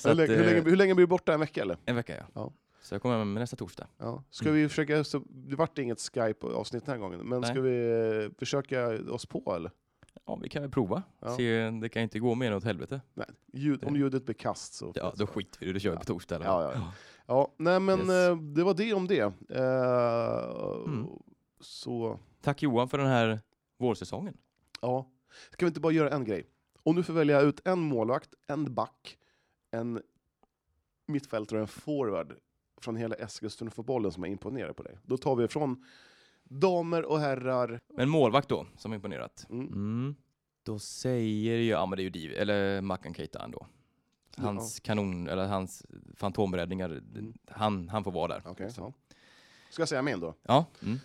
Speaker 3: hur,
Speaker 2: att,
Speaker 3: länge, hur,
Speaker 2: eh,
Speaker 3: länge, hur länge blir du borta? En vecka eller?
Speaker 2: En vecka ja.
Speaker 3: Ja.
Speaker 2: Så jag kommer hem nästa torsdag.
Speaker 3: Ja.
Speaker 2: Mm.
Speaker 3: Ska vi försöka, så, det vart inget Skype-avsnitt den här gången, men
Speaker 2: Nej.
Speaker 3: ska vi eh, försöka oss på eller?
Speaker 2: Ja, vi kan väl prova.
Speaker 3: Ja.
Speaker 2: Se, det kan ju inte gå mer än åt helvete.
Speaker 3: Nej, ljud, om
Speaker 2: Det-
Speaker 3: ljudet blir kast så...
Speaker 2: Ja, då skiter vi i det. Då kör vi på torsdag. eller?
Speaker 3: Ja, ja, ja. Ja, nej men
Speaker 2: Yes.
Speaker 3: eh, det var det om det. Eh,
Speaker 2: Mm.
Speaker 3: Så,
Speaker 2: Tack Johan för den här vårsäsongen.
Speaker 3: ja. Ska vi inte bara göra en grej? Om du får välja ut en målvakt, en back, en mittfältare och en forward från hela Eskilstuna-fotbollen som har imponerat på dig. Då tar vi från damer och herrar.
Speaker 2: Men målvakt då, som imponerat.
Speaker 3: Mm.
Speaker 2: Mm. Då säger jag, ja men det är ju Div, eller Mackan Keita ändå. Hans kanon, eller hans fantomräddningar, d-
Speaker 3: Mm.
Speaker 2: han, han får vara där.
Speaker 3: Okej,
Speaker 2: Så-
Speaker 3: ja. Ska jag säga min då?
Speaker 2: ja. Mm.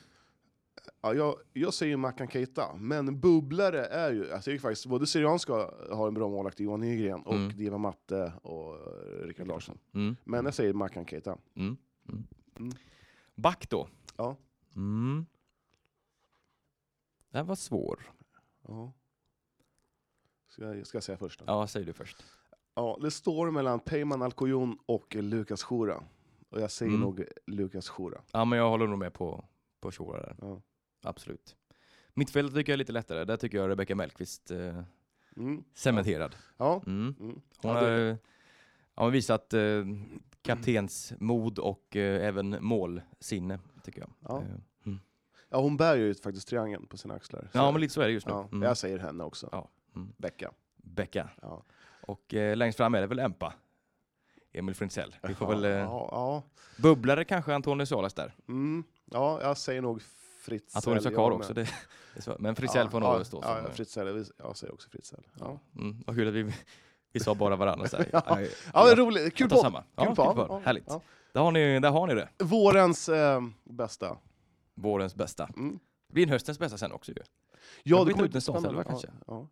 Speaker 3: Ja, jag, jag säger Mackan Keita, men bubblare är ju... alltså, Jag tycker faktiskt både Syrianska har en bra målvakt, Johan Nygren, och
Speaker 2: Mm.
Speaker 3: Diva Matte och eh, Rickard Larsson.
Speaker 2: Mm.
Speaker 3: Men jag säger Mackan Keita.
Speaker 2: Mm. Mm.
Speaker 3: Mm.
Speaker 2: Back då.
Speaker 3: Ja.
Speaker 2: Mm. Den var svår.
Speaker 3: Ja. Ska, jag, ska jag säga först? Då? Ja.
Speaker 2: Ja, säger du först.
Speaker 3: det står mellan Peyman Alcoyon och Lukas Jura. Och jag säger
Speaker 2: Mm.
Speaker 3: nog Lukas Jura.
Speaker 2: Ja, men jag håller nog med på, på Shora där.
Speaker 3: Ja.
Speaker 2: Absolut. Mittfältet tycker jag är lite lättare. Där tycker jag Rebecka Mellqvist eh,
Speaker 3: Mm.
Speaker 2: cementerad.
Speaker 3: Ja.
Speaker 2: Mm.
Speaker 3: Mm.
Speaker 2: Hon
Speaker 3: Ja,
Speaker 2: har
Speaker 3: det-
Speaker 2: eh, ja, visat eh, kaptensmod och eh, även målsinne, tycker jag.
Speaker 3: Ja.
Speaker 2: Eh,
Speaker 3: ja, hon bär ju faktiskt triangeln på sina axlar. Så-
Speaker 2: ja, men lite så är det just nu.
Speaker 3: ja,
Speaker 2: Mm.
Speaker 3: Jag säger henne också.
Speaker 2: Ja. Mm.
Speaker 3: Becka.
Speaker 2: Becka.
Speaker 3: Ja.
Speaker 2: Och eh, längst fram är det väl Empa. Emil Frintzell. Vi får väl... Eh,
Speaker 3: Ja, ja.
Speaker 2: bubblare kanske Antonio Salas där.
Speaker 3: Mm. Ja, jag säger nog Fritzell.
Speaker 2: Antonio
Speaker 3: jag
Speaker 2: Sakar
Speaker 3: med.
Speaker 2: också. Det, det är så. Men Fritzell får nog
Speaker 3: ja,
Speaker 2: stå
Speaker 3: ja,
Speaker 2: som...
Speaker 3: ja,
Speaker 2: eh,
Speaker 3: Fritzell, vi- jag säger också Fritzell. Ja,
Speaker 2: Mm, vad kul att vi, vi sa bara varandra så här.
Speaker 3: Ja.
Speaker 2: Nej,
Speaker 3: ja,
Speaker 2: jag-
Speaker 3: roligt. Kul
Speaker 2: jag tar
Speaker 3: podd.
Speaker 2: samma.
Speaker 3: Kul
Speaker 2: Ja, kul
Speaker 3: podd.
Speaker 2: podd.
Speaker 3: Ja,
Speaker 2: Härligt.
Speaker 3: ja.
Speaker 2: Där har ni, där har ni det.
Speaker 3: Vårens eh, bästa.
Speaker 2: Vårens bästa.
Speaker 3: Mm.
Speaker 2: Det blir en höstens bästa sen också ju.
Speaker 3: Ja,
Speaker 2: det
Speaker 3: det
Speaker 2: kommer ut en startelva
Speaker 3: spännande.
Speaker 2: kanske.
Speaker 3: Ja,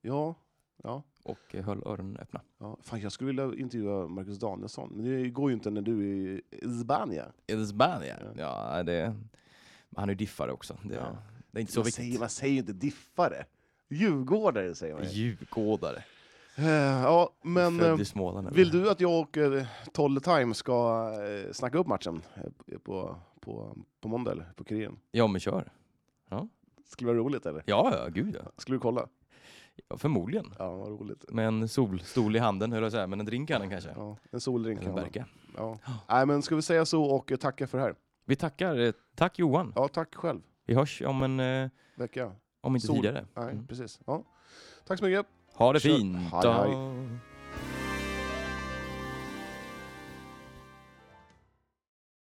Speaker 3: ja. ja.
Speaker 2: Och eh, höll öronen öppna.
Speaker 3: ja. Fan, jag skulle vilja intervjua Marcus Danielsson, men det går ju inte när du är i Spanien.
Speaker 2: Spanien. Ja, det... men Han är ju diffare också. Det,
Speaker 3: Ja.
Speaker 2: det Det är inte så
Speaker 3: Man säger,
Speaker 2: viktigt.
Speaker 3: man säger ju inte diffare. Djurgårdare säger man ju.
Speaker 2: Djurgårdare.
Speaker 3: Eh, Ja, men... eh,
Speaker 2: Född i Småland.
Speaker 3: Vill du att jag och eh, Tolle Time ska eh, snacka upp matchen eh, på, på, på måndag eller på Kuriren?
Speaker 2: Ja, men kör.
Speaker 3: Skulle det vara roligt eller?
Speaker 2: Ja, ja, gud ja.
Speaker 3: Skulle du kolla?
Speaker 2: ja förmodligen.
Speaker 3: Ja, vad roligt.
Speaker 2: Med en solstol i handen, höll jag säga. Men en drink i handen kanske.
Speaker 3: Ja, en soldrink.
Speaker 2: Eller
Speaker 3: kan
Speaker 2: en
Speaker 3: man.
Speaker 2: verka.
Speaker 3: Ja. Nej, men ska vi säga så och eh, tacka för det här?
Speaker 2: Vi tackar. eh, Tack Johan.
Speaker 3: Ja, tack själv.
Speaker 2: Vi hörs om en, eh,
Speaker 3: Vecka?
Speaker 2: om inte
Speaker 3: Sol.
Speaker 2: tidigare.
Speaker 3: Nej,
Speaker 2: Mm.
Speaker 3: precis. Ja. Tack så mycket.
Speaker 2: Ha det
Speaker 3: Kör.
Speaker 2: fint.
Speaker 3: Hej, hej.
Speaker 2: då.